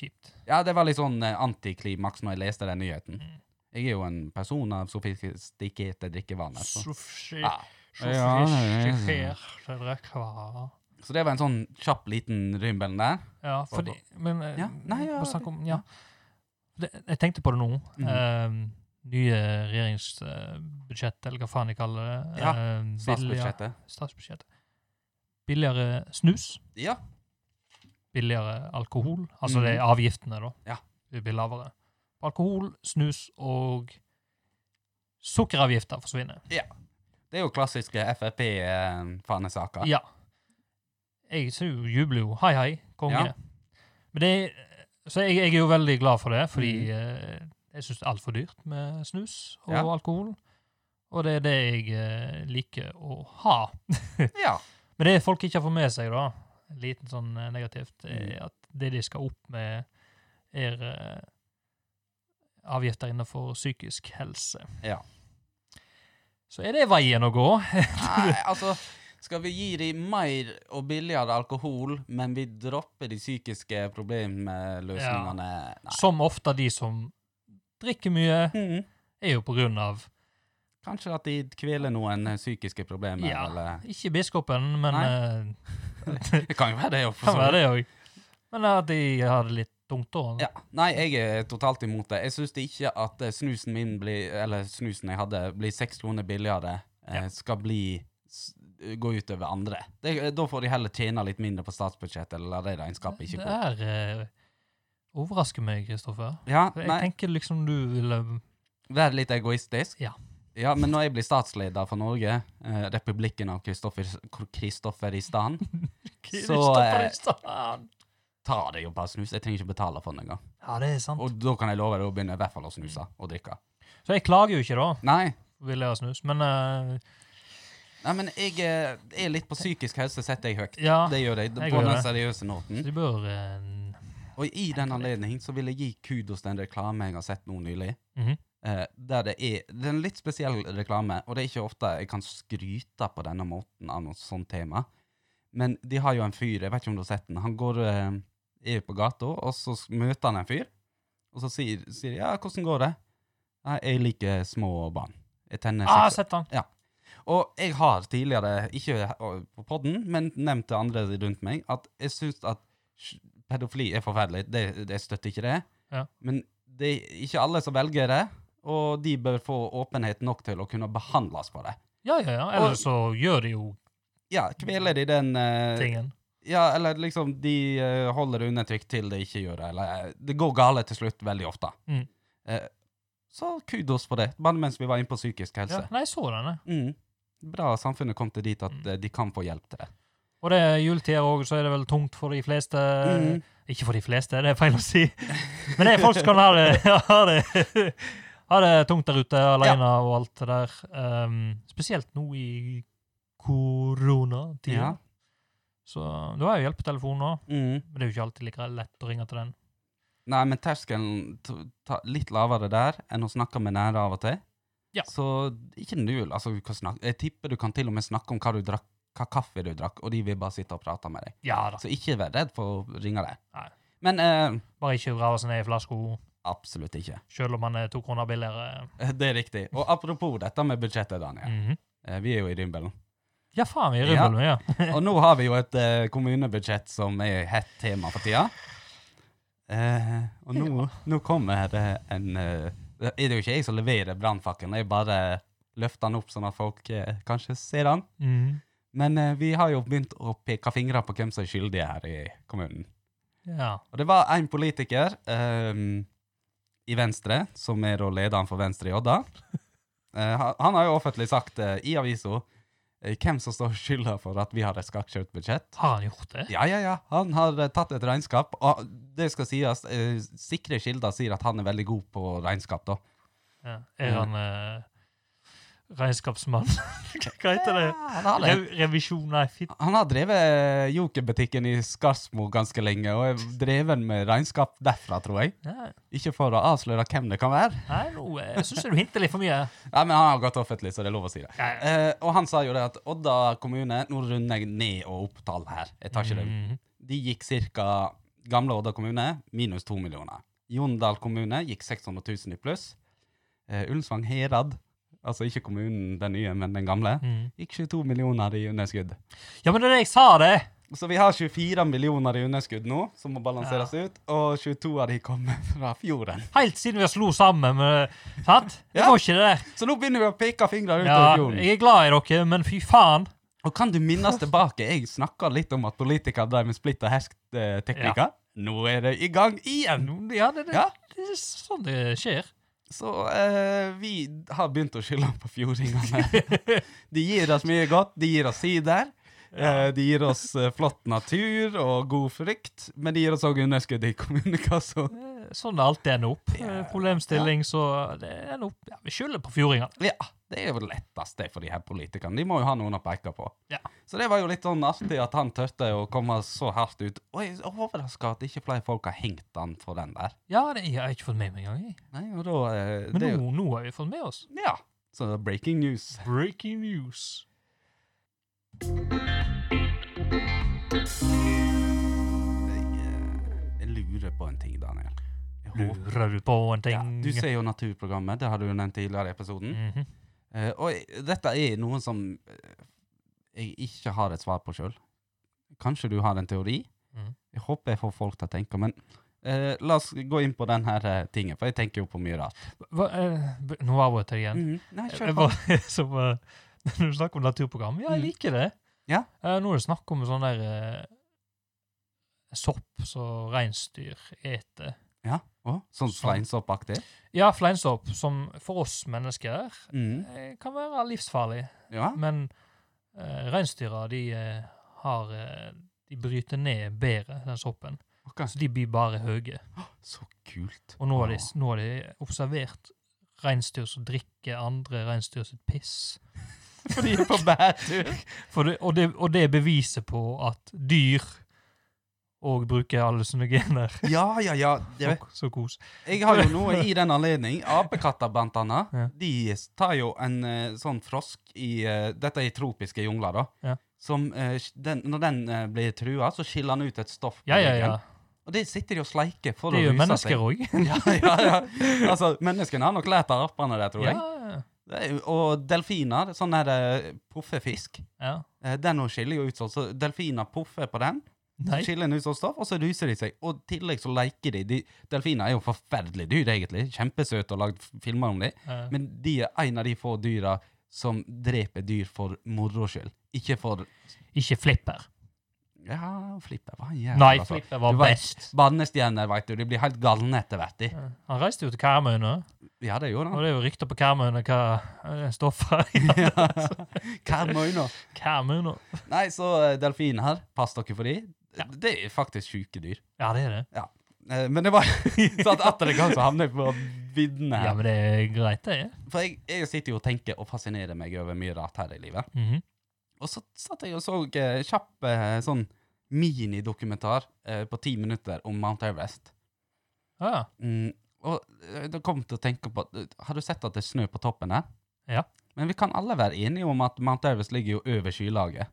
Speaker 2: Kjipt.
Speaker 3: Ja, det var litt sånn eh, antiklimaks når jeg leste den nyheten. Jeg er jo en person av sofistikerte drikkevaner. Så.
Speaker 2: Sushi
Speaker 3: Ja.
Speaker 2: sushi-
Speaker 3: Ja, ja,
Speaker 2: sushi-
Speaker 3: ja.
Speaker 2: det er rekva.
Speaker 3: så det var en sånn kjapp liten rymbel der.
Speaker 2: Ja, fordi Men eh,
Speaker 3: Ja, nei, ja,
Speaker 2: bare snakk om
Speaker 3: ja.
Speaker 2: Ja. Det, jeg tenkte på det nå.
Speaker 3: Mhm.
Speaker 2: Eh, nye regjeringsbudsjett, eller hva faen de kaller det.
Speaker 3: Ja,
Speaker 2: Eh, billigere-
Speaker 3: Statsbudsjettet.
Speaker 2: statsbudsjettet. Billigere snus.
Speaker 3: Ja.
Speaker 2: billigere alkohol. Altså
Speaker 3: Mhm.
Speaker 2: det er avgiftene, da.
Speaker 3: Ja.
Speaker 2: Det blir lavere. Alkohol, snus og sukkeravgifter forsvinner.
Speaker 3: Det er jo klassiske eh, Frp-fanesaker.
Speaker 2: Ja. Jeg ser jo jubler jo. Hei, hei, konge.
Speaker 3: Ja.
Speaker 2: Men det er, så jeg, jeg er jo veldig glad for det, fordi
Speaker 3: Mhm.
Speaker 2: eh, jeg syns det er altfor dyrt med snus og
Speaker 3: Ja.
Speaker 2: alkohol. Og det er det jeg eh, liker å ha.
Speaker 3: ja.
Speaker 2: Men det folk ikke har fått med seg, da, en liten sånn eh, negativt, er
Speaker 3: Mm.
Speaker 2: at det de skal opp med, er eh, avgifter innenfor psykisk helse.
Speaker 3: Ja.
Speaker 2: Så er det veien å gå.
Speaker 3: Nei, altså Skal vi gi dem mer og billigere alkohol, men vi dropper de psykiske problemløsningene? Nei.
Speaker 2: Som ofte de som drikker mye,
Speaker 3: Mhm.
Speaker 2: er jo på grunn av
Speaker 3: Kanskje at de kveler noen eh, psykiske problemer,
Speaker 2: Ja.
Speaker 3: eller
Speaker 2: Ikke biskopen, men eh,
Speaker 3: Det kan jo være det, jo. for
Speaker 2: kan
Speaker 3: så
Speaker 2: være
Speaker 3: vidt.
Speaker 2: det òg. Men at de har det litt tungt da.
Speaker 3: Ja. Nei, jeg er totalt imot det. Jeg syns ikke at eh, snusen min blir Eller snusen jeg hadde, blir seks kroner billigere, eh,
Speaker 2: Ja.
Speaker 3: skal bli s- gå utover andre. Det, da får de heller tjene litt mindre på statsbudsjettet, eller la det regnskapet ikke
Speaker 2: det
Speaker 3: gå.
Speaker 2: er eh, overrasker meg, Kristoffer.
Speaker 3: Ja,
Speaker 2: Jeg
Speaker 3: nei.
Speaker 2: tenker liksom du ville
Speaker 3: Være litt egoistisk?
Speaker 2: Ja.
Speaker 3: Ja, Men når jeg blir statsleder for Norge, eh, republikken av Kristoffer, Kristofferistan, eh, tar det jo bare snus. Jeg trenger ikke betale for den engang.
Speaker 2: Ja, det er sant.
Speaker 3: Og da kan jeg love deg å begynne i hvert fall å snuse og drikke.
Speaker 2: Så jeg klager jo ikke, da,
Speaker 3: Nei,
Speaker 2: vil jeg ha snus. Men eh,
Speaker 3: nei men jeg eh, er litt på psykisk helse, setter jeg høyt.
Speaker 2: ja,
Speaker 3: Det gjør jeg,
Speaker 2: jeg
Speaker 3: på
Speaker 2: gjør
Speaker 3: den
Speaker 2: det.
Speaker 3: seriøse noten.
Speaker 2: de bør eh,
Speaker 3: Og i den anledning så vil jeg gi kudos til en reklame jeg har sett nå nylig.
Speaker 2: Mhm.
Speaker 3: eh, der det er, det er en litt spesiell reklame, og det er ikke ofte jeg kan skryte på denne måten av noe sånt tema. Men de har jo en fyr, jeg vet ikke om du har sett den, han går, eh, er på gata, og så s- møter han en fyr, og så sier, sier de, ja, hvordan går det? Nei, jeg liker små barn. Jeg tenner
Speaker 2: Ah,
Speaker 3: seksuelt.
Speaker 2: sett han!
Speaker 3: Og jeg har tidligere, ikke he- å, på podden, men nevnt til andre rundt meg, at jeg syns at sj- pedofili er forferdelig. Det, det jeg støtter ikke det.
Speaker 2: Ja.
Speaker 3: Men det er ikke alle som velger det, og de bør få åpenhet nok til å kunne behandles for det.
Speaker 2: Ja, ja, ja. Eller så gjør de jo
Speaker 3: Ja, kveler de den eh,
Speaker 2: tingen.
Speaker 3: Ja, eller liksom de eh, holder det undertrykt til det ikke gjør det, eller eh, det går gale til slutt veldig ofte.
Speaker 2: Mm.
Speaker 3: Eh, så kudos for det, bare mens vi var inne på psykisk
Speaker 2: Ja, Mm.
Speaker 3: helse.
Speaker 2: nei, jeg så den, jeg.
Speaker 3: Mm. Bra samfunnet kom til dit at eh, de kan få hjelp til det.
Speaker 2: Og det er juletider òg, så er det vel tungt for de fleste.
Speaker 3: Mhm.
Speaker 2: Ikke for de fleste, det er feil å si. Men det er folk som kan ha det, ha det, ha det tungt der ute, alene og alt det der. Ehm, spesielt nå i koronatida.
Speaker 3: Ja.
Speaker 2: Så du har jo hjelpetelefon nå.
Speaker 3: Mm.
Speaker 2: Men det er jo ikke alltid like lett å ringe til den.
Speaker 3: Nei, men terskelen t- ta litt lavere der enn å snakke med nære av og til.
Speaker 2: Ja.
Speaker 3: Så ikke null. Altså, du kan snakke, jeg tipper du kan til og med snakke om hva du drakk, hva kaffe du drakk, og de vil bare sitte og prate med deg.
Speaker 2: Ja da.
Speaker 3: Så ikke vær redd for å ringe deg.
Speaker 2: Nei.
Speaker 3: Men eh,
Speaker 2: Bare ikke grave seg ned i flaska,
Speaker 3: absolutt ikke.
Speaker 2: sjøl om han er to kroner billigere.
Speaker 3: Eh, Det er riktig. Og apropos dette med budsjettet, Daniel.
Speaker 2: Mhm.
Speaker 3: Eh, vi er jo i Rimbelen.
Speaker 2: Ja, faen, vi ruller mye.
Speaker 3: Og nå har vi jo et eh, kommunebudsjett som er hett tema for tida. Eh, og nå, nå kommer det en eh, Det er jo ikke jeg som leverer brannfakkelen, jeg bare løfte den opp, sånn at folk eh, kanskje ser den.
Speaker 2: Mm.
Speaker 3: Men eh, vi har jo begynt å peke fingre på hvem som er skyldige her i kommunen.
Speaker 2: Ja.
Speaker 3: Og det var en politiker ehm, i Venstre, som er da lederen for Venstre i Odda. Eh, han, han har jo offentlig sagt eh, i avisa eh, hvem som står skylda for at vi har et skakkjørt budsjett.
Speaker 2: Har han gjort det?
Speaker 3: Ja, ja, ja. Han har eh, tatt et regnskap. Og det skal sies, eh, sikre kilder sier at han er veldig god på regnskap, da.
Speaker 2: Ja. Er han eh, regnskapsmann? Hva heter det?
Speaker 3: Ja, han, har det.
Speaker 2: Rev revisjon, nei, fit.
Speaker 3: han har drevet jokerbutikken i Skarsmo ganske lenge, og er dreven med regnskap derfra, tror jeg.
Speaker 2: Nei,
Speaker 3: Ikke for å avsløre hvem det kan være.
Speaker 2: nei nå eh, syns jeg du hinter litt for mye.
Speaker 3: Nei, men han har gått offentlig, så det er lov å si det.
Speaker 2: Ja, ja.
Speaker 3: Eh, og han sa jo det at Odda kommune Nå runder jeg ned og opp tall her. Jeg tar ikke det.
Speaker 2: Mhm.
Speaker 3: De gikk ca. Gamle Odda kommune minus 2 millioner. Jondal kommune gikk 600 000 i pluss. Eh, Ullensvang Herad, altså ikke kommunen den nye, men den gamle,
Speaker 2: Mhm.
Speaker 3: gikk 22 millioner i underskudd.
Speaker 2: Ja, men det er det jeg sa, det!
Speaker 3: Så vi har 24 millioner i underskudd nå, som må balanseres ut, og 22 av de kommer fra fjorden.
Speaker 2: Helt siden vi slo sammen. Men, eh, sant? Det var ikke det der.
Speaker 3: Så nå begynner vi å peke fingre utover
Speaker 2: Ja,
Speaker 3: fjorden.
Speaker 2: jeg er glad i dere, men fy faen.
Speaker 3: Og kan du minnes tilbake? Jeg snakka litt om at politikere drev med splitt og hersk-teknikker. Nå er det i gang igjen!
Speaker 2: Nå- Ja, det, det,
Speaker 3: Ja.
Speaker 2: det er sånn det skjer.
Speaker 3: Så eh, vi har begynt å skylde på fjordingene. De gir oss mye godt. De gir oss sider. Eh, de gir oss eh, flott natur og god frykt, men de gir oss òg underskudd i kommunekassa.
Speaker 2: Eh, Sånn det alltid ender opp. Eh, Problemstilling, så det ender opp ja, Vi skylder på fjordingene.
Speaker 3: Ja, det er jo det letteste for de her politikerne. De må jo ha noen å peke på.
Speaker 2: Ja.
Speaker 3: Så det var jo litt sånn artig at han tørte å komme så hardt ut. Og jeg er overraska at ikke flere folk har hengt han for den der.
Speaker 2: Ja, det jeg har jeg ikke fått med meg engang. jeg.
Speaker 3: Nei, og da eh,
Speaker 2: Men
Speaker 3: det er jo,
Speaker 2: nå, nå har vi fått med oss.
Speaker 3: Ja. Så det er breaking news.
Speaker 2: Breaking news.
Speaker 3: Jeg, eh, jeg lurer på en ting, Daniel. Jeg håper-
Speaker 2: Lurer du på en ting?
Speaker 3: Ja, du ser jo Naturprogrammet, det har du jo nevnt tidligere i episoden.
Speaker 2: Mhm.
Speaker 3: Eh, og jeg- dette er noe som eh, jeg ikke har et svar på sjøl. Kanskje du har en teori?
Speaker 2: Mhm.
Speaker 3: Jeg håper jeg får folk til å tenke, men eh, la oss gå inn på den her eh, tingen, for jeg tenker jo på mye rart.
Speaker 2: Hva, eh, b- nå avbrøt jeg igjen.
Speaker 3: Mhm. Nei, kjør
Speaker 2: Jeg
Speaker 3: på.
Speaker 2: bare, som, eh, når du snakker om naturprogram, ja, jeg
Speaker 3: Mm.
Speaker 2: liker det.
Speaker 3: Ja.
Speaker 2: Eh, nå er det snakk om sånn der eh, sopp som reinsdyr eter.
Speaker 3: Ja. Å, sånn
Speaker 2: Sånn.
Speaker 3: fleinsoppaktig?
Speaker 2: Ja, fleinsopp, som for oss mennesker
Speaker 3: Mhm.
Speaker 2: eh, kan være livsfarlig.
Speaker 3: Ja.
Speaker 2: Men eh, reinsdyra, de eh, har eh, De bryter ned bedre, den soppen.
Speaker 3: Ok.
Speaker 2: Så de blir bare høye.
Speaker 3: Så kult.
Speaker 2: Og nå har de,
Speaker 3: Å.
Speaker 2: nå har de observert reinsdyr som drikker andre reinsdyr sitt piss.
Speaker 3: Fordi jeg er på bærtur.
Speaker 2: For det, og, det, og det er beviset på at dyr òg bruker hallusinogener.
Speaker 3: Ja, ja, ja. Det,
Speaker 2: Så, så kos.
Speaker 3: jeg har jo noe i den anledning. Apekatter, blant annet,
Speaker 2: Ja.
Speaker 3: de tar jo en eh, sånn frosk i eh, Dette er i tropiske jungler, da.
Speaker 2: Ja.
Speaker 3: Som, eh, den, når den eh, blir trua, så skiller den ut et stoff. på
Speaker 2: Ja, ja, ja.
Speaker 3: ryggen. Og det sitter de og sleiker for
Speaker 2: Det
Speaker 3: å
Speaker 2: er jo
Speaker 3: ruse seg.
Speaker 2: mennesker òg.
Speaker 3: ja, ja, ja. Altså, menneskene har nok lært av apene der, tror
Speaker 2: Ja,
Speaker 3: jeg. Det er jo- Og delfiner, sånn der eh, poffe-fisk,
Speaker 2: ja.
Speaker 3: eh, den også skiller jo ut sånn. Så delfiner poffer på den.
Speaker 2: Nei.
Speaker 3: Så skiller den ut som stoff, og så ruser de seg. Og i tillegg så leker de. de delfiner er jo forferdelige dyr, egentlig. Kjempesøte og lagd f- filmer om dem.
Speaker 2: Ja.
Speaker 3: Men de er en av de få dyra som dreper dyr for moro skyld. Ikke for
Speaker 2: eh, Ikke Flipper.
Speaker 3: Ja, Flipper var en jævel,
Speaker 2: Nei,
Speaker 3: altså.
Speaker 2: Flipper var
Speaker 3: Du vet-
Speaker 2: best.
Speaker 3: Bannestjerner, veit du. De blir helt galne etter hvert, de.
Speaker 2: Ja. Han reiste jo til Karmøy nå,
Speaker 3: Ja, det gjorde
Speaker 2: og
Speaker 3: han.
Speaker 2: det er jo rykter på Karmøy nå hva eh, stoffer ja.
Speaker 3: Hva må jeg nå?
Speaker 2: Karmøy nå.
Speaker 3: Nei, så eh, delfiner her, pass dere for de.
Speaker 2: Ja.
Speaker 3: Det er faktisk sjuke dyr.
Speaker 2: Ja, det er det.
Speaker 3: Eh, Men det var så at atter en gang så havner jeg på viddene her.
Speaker 2: Ja, men det er greit, det. er.
Speaker 3: For jeg, jeg sitter jo og tenker og fascinerer meg over mye rart her i livet.
Speaker 2: Mhm.
Speaker 3: Og så satt jeg og så eh, kjapp eh, sånn minidokumentar eh, på ti minutter om Mount Everest.
Speaker 2: Ja.
Speaker 3: Mm, og eh, da kom jeg til å tenke på at, eh, Har du sett at det er snø på toppen her?
Speaker 2: Ja.
Speaker 3: Men vi kan alle være enige om at Mount Everest ligger jo over skylaget.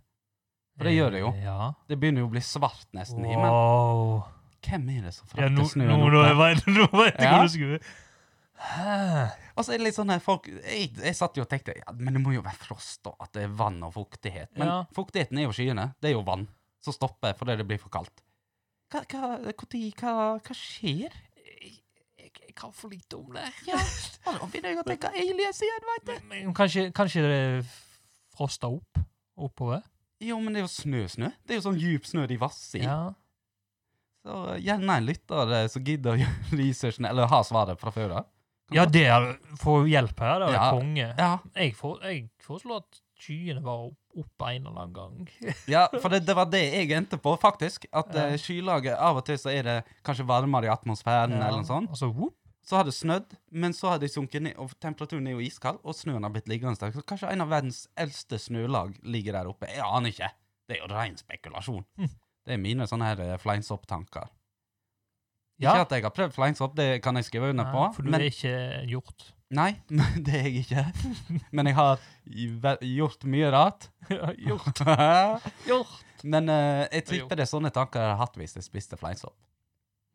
Speaker 3: For det gjør det jo.
Speaker 2: Eh, Ja.
Speaker 3: Det begynner jo å bli svart nesten i himmelen.
Speaker 2: Wow.
Speaker 3: Hvem er det som
Speaker 2: Ja, nå,
Speaker 3: frakter snøen
Speaker 2: nå, nå,
Speaker 3: opp? her?
Speaker 2: vet- nå vet jeg
Speaker 3: Ja.
Speaker 2: hvor du skulle Hæ?
Speaker 3: Og så er det litt sånn her folk Jeg, jeg satt jo og tenkte ja, men det må jo være frost, og at det er vann og fuktighet. Men
Speaker 2: Ja.
Speaker 3: fuktigheten er jo skyene. Det er jo vann som stopper fordi det blir for kaldt. Hva, hva, hvor tid- hva, hva skjer?
Speaker 2: jeg jeg kan for lite om det.
Speaker 3: Ja, og nå begynner jeg å tenke aliens igjen, veit du.
Speaker 2: Men, men kanskje, kanskje det frosta opp oppover?
Speaker 3: Jo, men det er jo snø-snø. Det er jo sånn djup snø de vasser i.
Speaker 2: Ja.
Speaker 3: Så gjerne en lytter eh, som gidder å gjøre researchen, eller har svaret fra før av.
Speaker 2: ja, det er for hjelp her. Det er
Speaker 3: Ja.
Speaker 2: konge.
Speaker 3: Ja.
Speaker 2: Jeg, for, jeg foreslår at skyene var opp en eller annen gang.
Speaker 3: ja, for det, det var det jeg endte på, faktisk. At
Speaker 2: Ja.
Speaker 3: eh, skylaget Av og til så er det kanskje varmere i atmosfæren, eller noe sånt.
Speaker 2: Og så whoop.
Speaker 3: Så har det snødd, men så har de sunket ned, og temperaturen er jo iskald, og snøen har blitt liggende der. Så kanskje en av verdens eldste snølag ligger der oppe. Jeg aner ikke. Det er jo ren spekulasjon.
Speaker 2: Mm.
Speaker 3: Det er mine sånne her eh, fleinsopp-tanker.
Speaker 2: Ja.
Speaker 3: Ikke at jeg har prøvd fleinsopp, det kan jeg skrive under på.
Speaker 2: Nei, for du
Speaker 3: men-
Speaker 2: er ikke en hjort.
Speaker 3: Nei, men det er jeg ikke. Men jeg har i- ve- gjort mye rart. Gjort?
Speaker 2: Hjort.
Speaker 3: men eh, jeg
Speaker 2: Jo.
Speaker 3: tipper det er sånne tanker jeg har hatt hvis jeg spiste fleinsopp.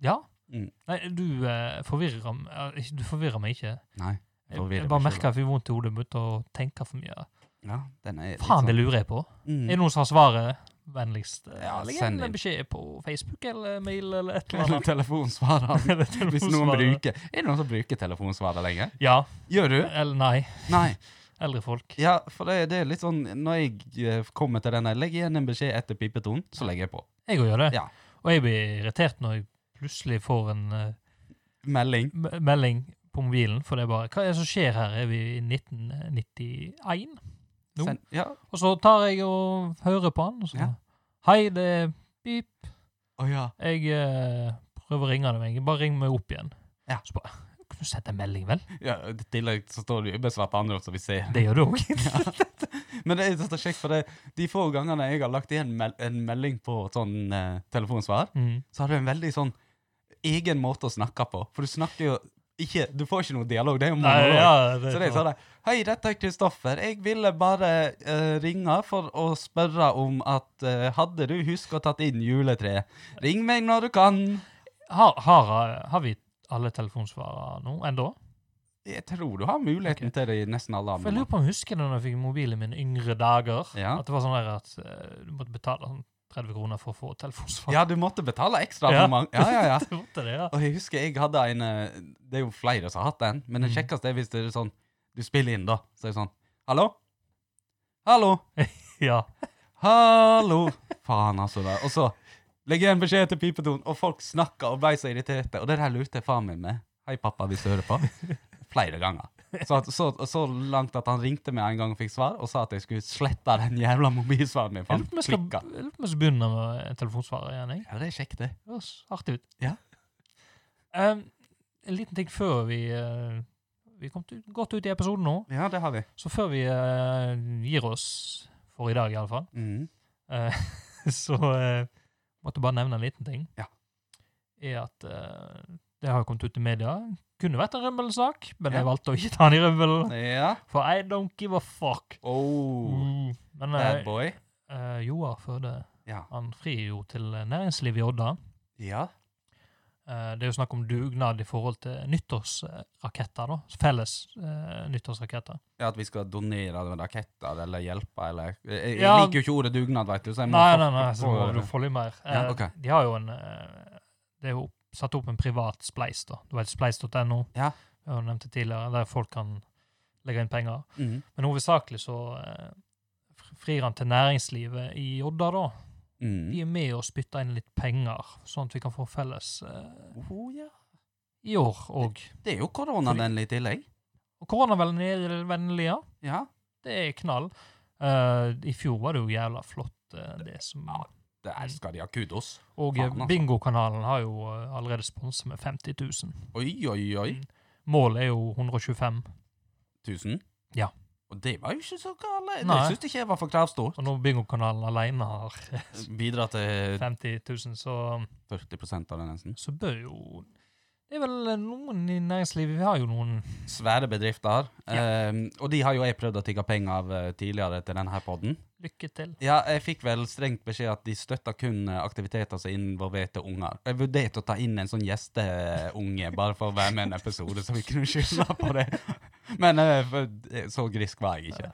Speaker 2: Ja.
Speaker 3: Mm.
Speaker 2: Nei, du eh, forvirrer, m- eh, ikke- du forvirrer meg ikke.
Speaker 3: Nei,
Speaker 2: Jeg,
Speaker 3: forvirrer
Speaker 2: jeg bare
Speaker 3: meg selv,
Speaker 2: merker at jeg får vondt i hodet mitt og tenker for mye.
Speaker 3: ja, den er litt
Speaker 2: Faen, det
Speaker 3: sånn-
Speaker 2: lurer jeg på.
Speaker 3: Mm.
Speaker 2: Er det noen som har svaret? Vennligst eh,
Speaker 3: Ja,
Speaker 2: legg
Speaker 3: send
Speaker 2: igjen en
Speaker 3: inn.
Speaker 2: beskjed på Facebook eller mail eller et eller
Speaker 3: Eller
Speaker 2: annet.
Speaker 3: telefonsvarer.
Speaker 2: Eller
Speaker 3: Hvis noen
Speaker 2: telefonsvarer.
Speaker 3: bruker Er det noen som bruker telefonsvarer lenger?
Speaker 2: Ja.
Speaker 3: Gjør du?
Speaker 2: Eller nei.
Speaker 3: Nei.
Speaker 2: Eldre folk.
Speaker 3: Ja, for det, det er litt sånn Når jeg eh, kommer til den her, legg igjen en beskjed etter pipetonen, så legger jeg på.
Speaker 2: Jeg òg gjør det.
Speaker 3: Ja.
Speaker 2: Og jeg blir irritert når jeg plutselig får en eh,
Speaker 3: Melding.
Speaker 2: me- melding på mobilen, for det er bare Hva er det som skjer her? Er vi i 1991? Jo.
Speaker 3: Send, ja.
Speaker 2: Og så tar jeg og hører på han, og så
Speaker 3: Ja.
Speaker 2: Hei, det er Pip.
Speaker 3: Å ja.
Speaker 2: Jeg eh, prøver å ringe deg, men bare ring meg opp igjen.
Speaker 3: Ja.
Speaker 2: Så bare Kan du sette en melding, vel?
Speaker 3: ja. I tillegg så står det jo ubesvart andre som vi ser.
Speaker 2: Det gjør du òg.
Speaker 3: Men det er så kjekt, for det, de få gangene jeg har lagt igjen mel en melding på sånn eh, telefonsvar,
Speaker 2: mm.
Speaker 3: så har du en veldig sånn egen måte å snakke på. For du snakker jo ikke Du får ikke noe dialog. Det er jo
Speaker 2: Nei,
Speaker 3: monolog.
Speaker 2: ja,
Speaker 3: Så de sa det. sånn. Hei, dette er Kristoffer. Jeg ville bare eh, ringe for å spørre om at eh, Hadde du husket å tatt inn juletreet? Ring meg når du kan.
Speaker 2: har, har, har vi alle telefonsvarere nå ennå?
Speaker 3: Jeg tror du har muligheten til det i nesten alle
Speaker 2: For jeg
Speaker 3: andre.
Speaker 2: lurer på om jeg husker da jeg fikk mobilen min yngre dager.
Speaker 3: Ja.
Speaker 2: At det var sånn der at eh, du måtte betale sånn 30 kroner for å få telefonsvar.
Speaker 3: Ja, du måtte betale ekstra
Speaker 2: Ja.
Speaker 3: abonnement. Ja, ja, ja.
Speaker 2: du måtte det, ja.
Speaker 3: Og jeg husker jeg hadde en eh, Det er jo flere som har hatt den, men den
Speaker 2: Mm.
Speaker 3: kjekkeste er hvis det er sånn Du spiller inn, da. Så er det sånn Hallo? Hallo?
Speaker 2: ja.
Speaker 3: Hallo? Faen, altså. Da. Og så legger jeg en beskjed til pipetonen, og folk snakker og ble så irriterte. Og det der lurte jeg faren min med. Hei, pappa, hvis du hører på. Flere ganger. Så, at, så, så langt at han ringte meg en gang og fikk svar, og sa at jeg skulle slette den jævla mobilsvaren min.
Speaker 2: Jeg
Speaker 3: For
Speaker 2: lurer på om
Speaker 3: han
Speaker 2: jeg skal-
Speaker 3: klikka.
Speaker 2: jeg lurer på om jeg skal begynne med en telefonsvarer igjen. Jeg.
Speaker 3: Ja, det er kjekt, det.
Speaker 2: Det høres artig ut.
Speaker 3: Ja.
Speaker 2: Em, en liten ting før vi eh, Vi kom til, godt ut i episoden nå,
Speaker 3: Ja, det har vi.
Speaker 2: så før vi eh, gir oss for i dag, iallfall,
Speaker 3: Mm.
Speaker 2: uh, så eh, måtte jeg bare nevne en liten ting.
Speaker 3: Ja.
Speaker 2: Er at eh, det har jo kommet ut i media. Kunne vært en rømmelsak, men jeg
Speaker 3: Ja.
Speaker 2: valgte å ikke ta den i rømmel.
Speaker 3: Ja.
Speaker 2: For I don't give a fuck.
Speaker 3: Oh,
Speaker 2: Mm. Men
Speaker 3: bad
Speaker 2: eh,
Speaker 3: boy.
Speaker 2: eh, Joar Førde
Speaker 3: Ja.
Speaker 2: han frir jo til eh, næringslivet i Odda.
Speaker 3: Ja.
Speaker 2: Eh, Det er jo snakk om dugnad i forhold til nyttårsraketter, da. Felles eh, nyttårsraketter.
Speaker 3: Ja, At vi skal donere med raketter eller hjelpe eller Jeg, jeg
Speaker 2: Ja.
Speaker 3: liker jo ikke ordet dugnad, vet du, så jeg må
Speaker 2: Nei,
Speaker 3: få-
Speaker 2: nei, nei, så
Speaker 3: få-
Speaker 2: må du få litt mer. Eh,
Speaker 3: Ja, ok.
Speaker 2: De har jo en eh, Det er jo satt opp en privat spleis, da. Du vet spleis.no,
Speaker 3: Ja.
Speaker 2: jeg nevnte tidligere, der folk kan legge inn penger.
Speaker 3: Mm.
Speaker 2: Men hovedsakelig så eh, fr- frir han til næringslivet i Odda, da.
Speaker 3: Mm.
Speaker 2: De er med og spytter inn litt penger, sånn at vi kan få felles eh,
Speaker 3: Oh, ja.
Speaker 2: i år òg.
Speaker 3: Det er jo koronavennlig i tillegg.
Speaker 2: Og koronavennlig, ja.
Speaker 3: Ja.
Speaker 2: Det er knall. Eh, I fjor var det jo jævla flott, eh, det som
Speaker 3: Der skal de ha kudos.
Speaker 2: Og
Speaker 3: faen, altså.
Speaker 2: eh, bingokanalen har jo eh, allerede sponset med 50 000.
Speaker 3: Oi, oi, oi.
Speaker 2: Målet er jo 125,
Speaker 3: 1000?
Speaker 2: Ja.
Speaker 3: Og det var jo ikke så galt.
Speaker 2: Nei.
Speaker 3: Det syns ikke jeg var for kravstort.
Speaker 2: og når bingokanalen alene har
Speaker 3: Bidra til
Speaker 2: 50 000, så,
Speaker 3: 40 av det, nesten.
Speaker 2: så bør jo Det er vel noen i næringslivet Vi har jo noen
Speaker 3: Svære bedrifter. ehm, og de har jo jeg prøvd å tigge penger av eh, tidligere til denne her podden.
Speaker 2: lykke til.
Speaker 3: Ja, jeg fikk vel strengt beskjed at de støtter kun eh, aktiviteter som involverte unger. Jeg vurderte å ta inn en sånn gjesteunge bare for å være med i en episode, så vi kunne skylde på det. Men eh, for- så grisk var jeg ikke.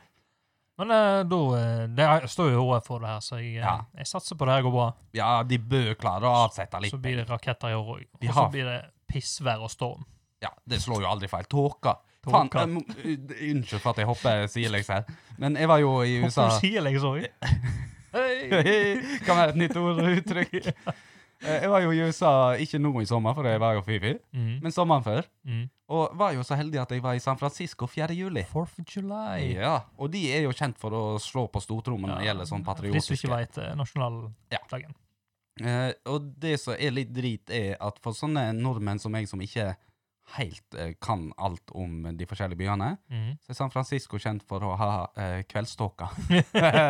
Speaker 2: Men eh, da eh, Det er- jeg står jo i håret for det her, så jeg, eh,
Speaker 3: Ja.
Speaker 2: jeg satser på det her går bra.
Speaker 3: Ja, de bør klare å avsette litt.
Speaker 2: Så blir det raketter i år òg.
Speaker 3: Vi
Speaker 2: Og så
Speaker 3: har-
Speaker 2: blir det pissvær og storm.
Speaker 3: Ja, det slår jo aldri feil. Tåka. Faen,
Speaker 2: Tåka.
Speaker 3: jeg må- uh, Unnskyld for at jeg hopper sidelengs her, men jeg var jo i USA
Speaker 2: Hvorfor sier jeg liksom? så?
Speaker 3: Hei! Kan være et nytt ord og uttrykk. Eh, Jeg var jo i USA ikke nå i sommer, for jeg var jo fyr-fyr,
Speaker 2: Mm.
Speaker 3: men sommeren før.
Speaker 2: Mm.
Speaker 3: Og var jo så heldig at jeg var i San Francisco 4. juli.
Speaker 2: Fourth of July.
Speaker 3: Ja, og de er jo kjent for å slå på stortrommen når det
Speaker 2: Ja,
Speaker 3: gjelder sånn
Speaker 2: Hvis du ikke eh,
Speaker 3: patriotiske.
Speaker 2: veit nasjonaldagen.
Speaker 3: Eh, og det som er litt drit, er at for sånne nordmenn som meg, som ikke helt eh, kan alt om de forskjellige byene,
Speaker 2: Mm.
Speaker 3: så er San Francisco kjent for å ha eh, kveldståka.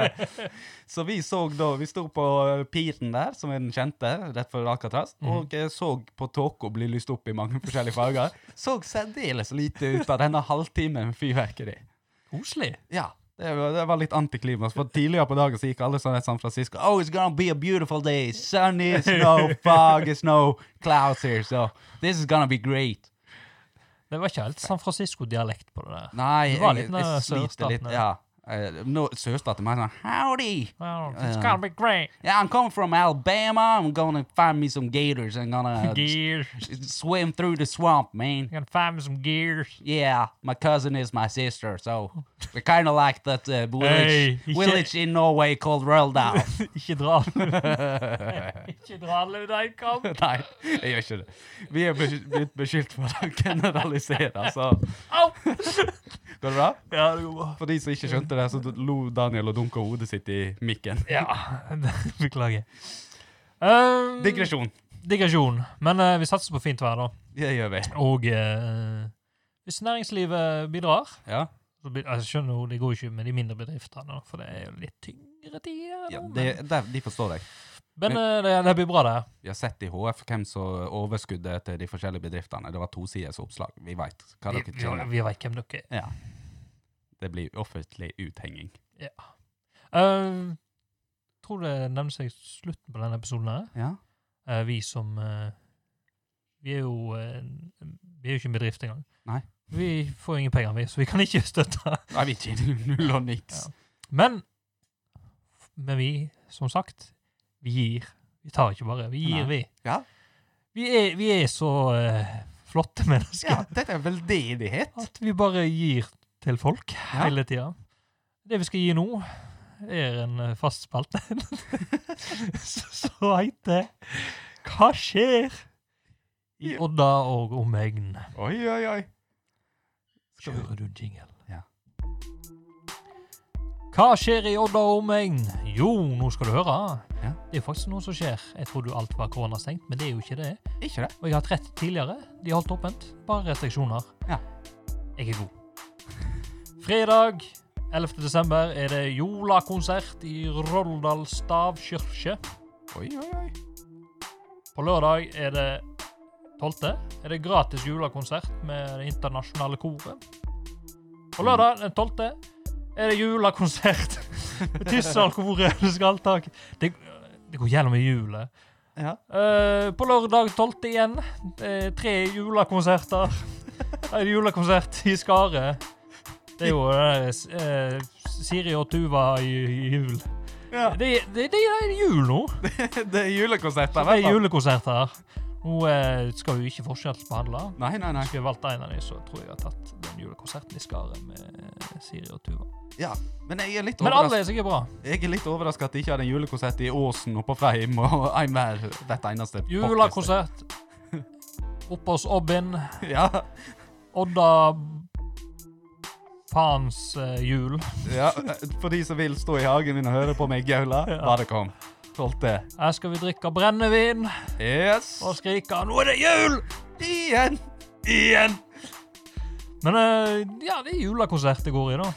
Speaker 3: så vi så da, vi sto på eh, piren der, som er den kjente, rett før Alcatraz, og eh, så på tåka bli lyst opp i mange forskjellige farger. Så særdeles lite ut av denne halvtimen med fyrverkeri.
Speaker 2: Koselig.
Speaker 3: Ja, det var, det var litt antiklimaks, for tidligere på dagen så gikk alle sånn i San Francisco. Oh, it's gonna be a beautiful day. Sunny, snow, fog, snow, clouds here, so this is gonna be great.
Speaker 2: Det var ikke helt San Francisco-dialekt på det der.
Speaker 3: Nei,
Speaker 2: Det var
Speaker 3: jeg,
Speaker 2: litt den
Speaker 3: jeg sliter
Speaker 2: sørstaten
Speaker 3: litt.
Speaker 2: der.
Speaker 3: Ja. Eh, Nå, sørstaten meg sånn, howdy!
Speaker 2: Well, it's gonna be great.
Speaker 3: Yeah, I'm coming from Alabama. I'm gonna find me some gators. I'm gonna
Speaker 2: Gears.
Speaker 3: s- swim through the swamp, man.
Speaker 2: You gonna find me some gears.
Speaker 3: Yeah, my cousin is my sister, so we're kind of like that uh, village,
Speaker 2: Hey, he
Speaker 3: village in Norway called Røldal.
Speaker 2: ikke dra den. ikke dra den ut av en kamp.
Speaker 3: Nei, jeg gjør ikke det. Vi er besky- blitt beskyldt for å generalisere, så
Speaker 2: Au!
Speaker 3: Går det bra?
Speaker 2: Ja, det går bra.
Speaker 3: For de som ikke skjønte det, så lo Daniel og dunka hodet sitt i mikken.
Speaker 2: Ja, beklager. Um,
Speaker 3: Digresjon.
Speaker 2: digresjon. Men eh, vi satser på fint vær, da.
Speaker 3: Det gjør vi.
Speaker 2: Og eh, hvis næringslivet bidrar
Speaker 3: Ja,
Speaker 2: så blir, altså, Jeg skjønner jo, det går jo ikke med de mindre bedriftene, for det er jo litt tyngre tider. nå,
Speaker 3: ja
Speaker 2: men-
Speaker 3: det, der- de forstår deg.
Speaker 2: Men eh, det, det blir bra, det.
Speaker 3: Vi har sett i HF hvem som overskuddet til de forskjellige bedriftene. Det var tosiders oppslag. Vi veit hva
Speaker 2: Vi,
Speaker 3: dere
Speaker 2: vi,
Speaker 3: tjener.
Speaker 2: vi vet hvem dere er.
Speaker 3: Ja. Det blir offentlig uthenging.
Speaker 2: Eh, tror det nevner seg slutten på denne episoden her.
Speaker 3: Ja.
Speaker 2: Eh, vi som eh, Vi er jo eh, Vi er jo ikke en bedrift engang.
Speaker 3: Nei.
Speaker 2: Vi får jo ingen penger, vi, så vi kan ikke støtte.
Speaker 3: Nei, vi tjener jo null og niks.
Speaker 2: Ja. Men Men vi, som sagt, vi gir. Vi tar ikke bare. Vi gir,
Speaker 3: Nei.
Speaker 2: vi.
Speaker 3: Ja.
Speaker 2: Vi er, vi er så eh, flotte mennesker
Speaker 3: Ja, dette er veldedighet.
Speaker 2: at vi bare gir til folk hele tida. Det vi skal gi nå, er en eh, fast spalte som heter Hva skjer i Odda og omegn?
Speaker 3: Oi, oi, oi. Skal vi-
Speaker 2: Kjører du en jingle?
Speaker 3: Ja.
Speaker 2: Hva skjer i Odda og omegn? Jo, nå skal du høre.
Speaker 3: Ja.
Speaker 2: Det er faktisk noe som skjer. Jeg trodde jo alt var koronastengt, men det er jo ikke det.
Speaker 3: Ikke det?
Speaker 2: Og jeg har hatt rett tidligere. De har holdt åpent. Bare restriksjoner.
Speaker 3: Ja.
Speaker 2: Jeg er god. Fredag 11. desember er det Jola-konsert i Roldal stavkirke.
Speaker 3: Oi, oi, oi.
Speaker 2: På lørdag er det 12. er det gratis julekonsert med det internasjonale koret.
Speaker 3: Mm.
Speaker 2: På lørdag den 12. er det julekonsert med Tysdalkoret og Skaltak. Det, det går gjennom i hjulet.
Speaker 3: Ja.
Speaker 2: Eh, på lørdag 12. igjen eh, tre julekonserter. Det er julekonsert i Skare. Det er jo eh, s- eh, Siri og Tuva i, i jul.
Speaker 3: ja.
Speaker 2: Det, det, det er jul nå.
Speaker 3: Det er julekonsert
Speaker 2: Så
Speaker 3: der,
Speaker 2: det
Speaker 3: vet
Speaker 2: er
Speaker 3: du.
Speaker 2: julekonserter her. Nå eh, skal vi ikke forskjellsbehandle.
Speaker 3: Nei, nei, nei.
Speaker 2: Skulle jeg valgt en av dem, så tror jeg jeg har tatt den julekonserten i Skaret med Siri og Tuva.
Speaker 3: Ja, men jeg er litt
Speaker 2: Men alle
Speaker 3: overrasket
Speaker 2: er sikkert bra.
Speaker 3: Jeg er litt overrasket at de ikke hadde en julekonsert i Åsen og på Freim og Eimær dette eneste. podcastet.
Speaker 2: Julekonsert oppe hos Obbin.
Speaker 3: Ja,
Speaker 2: Odda faens eh, jul.
Speaker 3: ja. For de som vil stå i hagen min og høre på meg gaula, bare kom. 12.
Speaker 2: Her skal vi drikke brennevin
Speaker 3: Yes.
Speaker 2: og skrike 'Nå er det jul!'
Speaker 3: Igjen! Igjen!
Speaker 2: Men eh, ja, det er julekonsert det går i, da.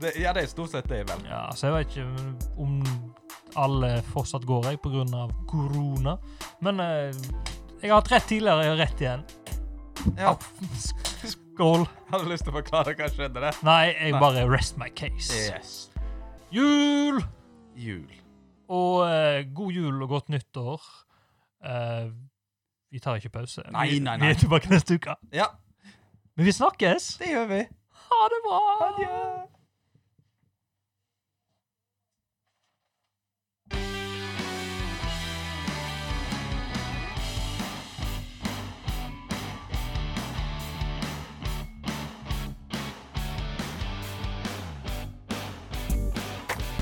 Speaker 3: Det, ja, det er stort sett det, vel.
Speaker 2: Ja, så jeg vet ikke mm, om alle fortsatt går, jeg, pga. korona. Men eh, jeg har hatt rett tidligere, jeg har rett igjen.
Speaker 3: Ja.
Speaker 2: Skål.
Speaker 3: Hadde lyst til å forklare hva skjedde der.
Speaker 2: Nei, jeg bare rest my case.
Speaker 3: Yes.
Speaker 2: Jul!
Speaker 3: Jul.
Speaker 2: Og eh, god jul og godt nyttår. Eh, vi tar ikke pause.
Speaker 3: Nei,
Speaker 2: Vi-
Speaker 3: nei, nei.
Speaker 2: Vi er tilbake neste uke.
Speaker 3: Ja,
Speaker 2: Men vi snakkes!
Speaker 3: det gjør vi.
Speaker 2: Ha det bra!
Speaker 3: Adjø.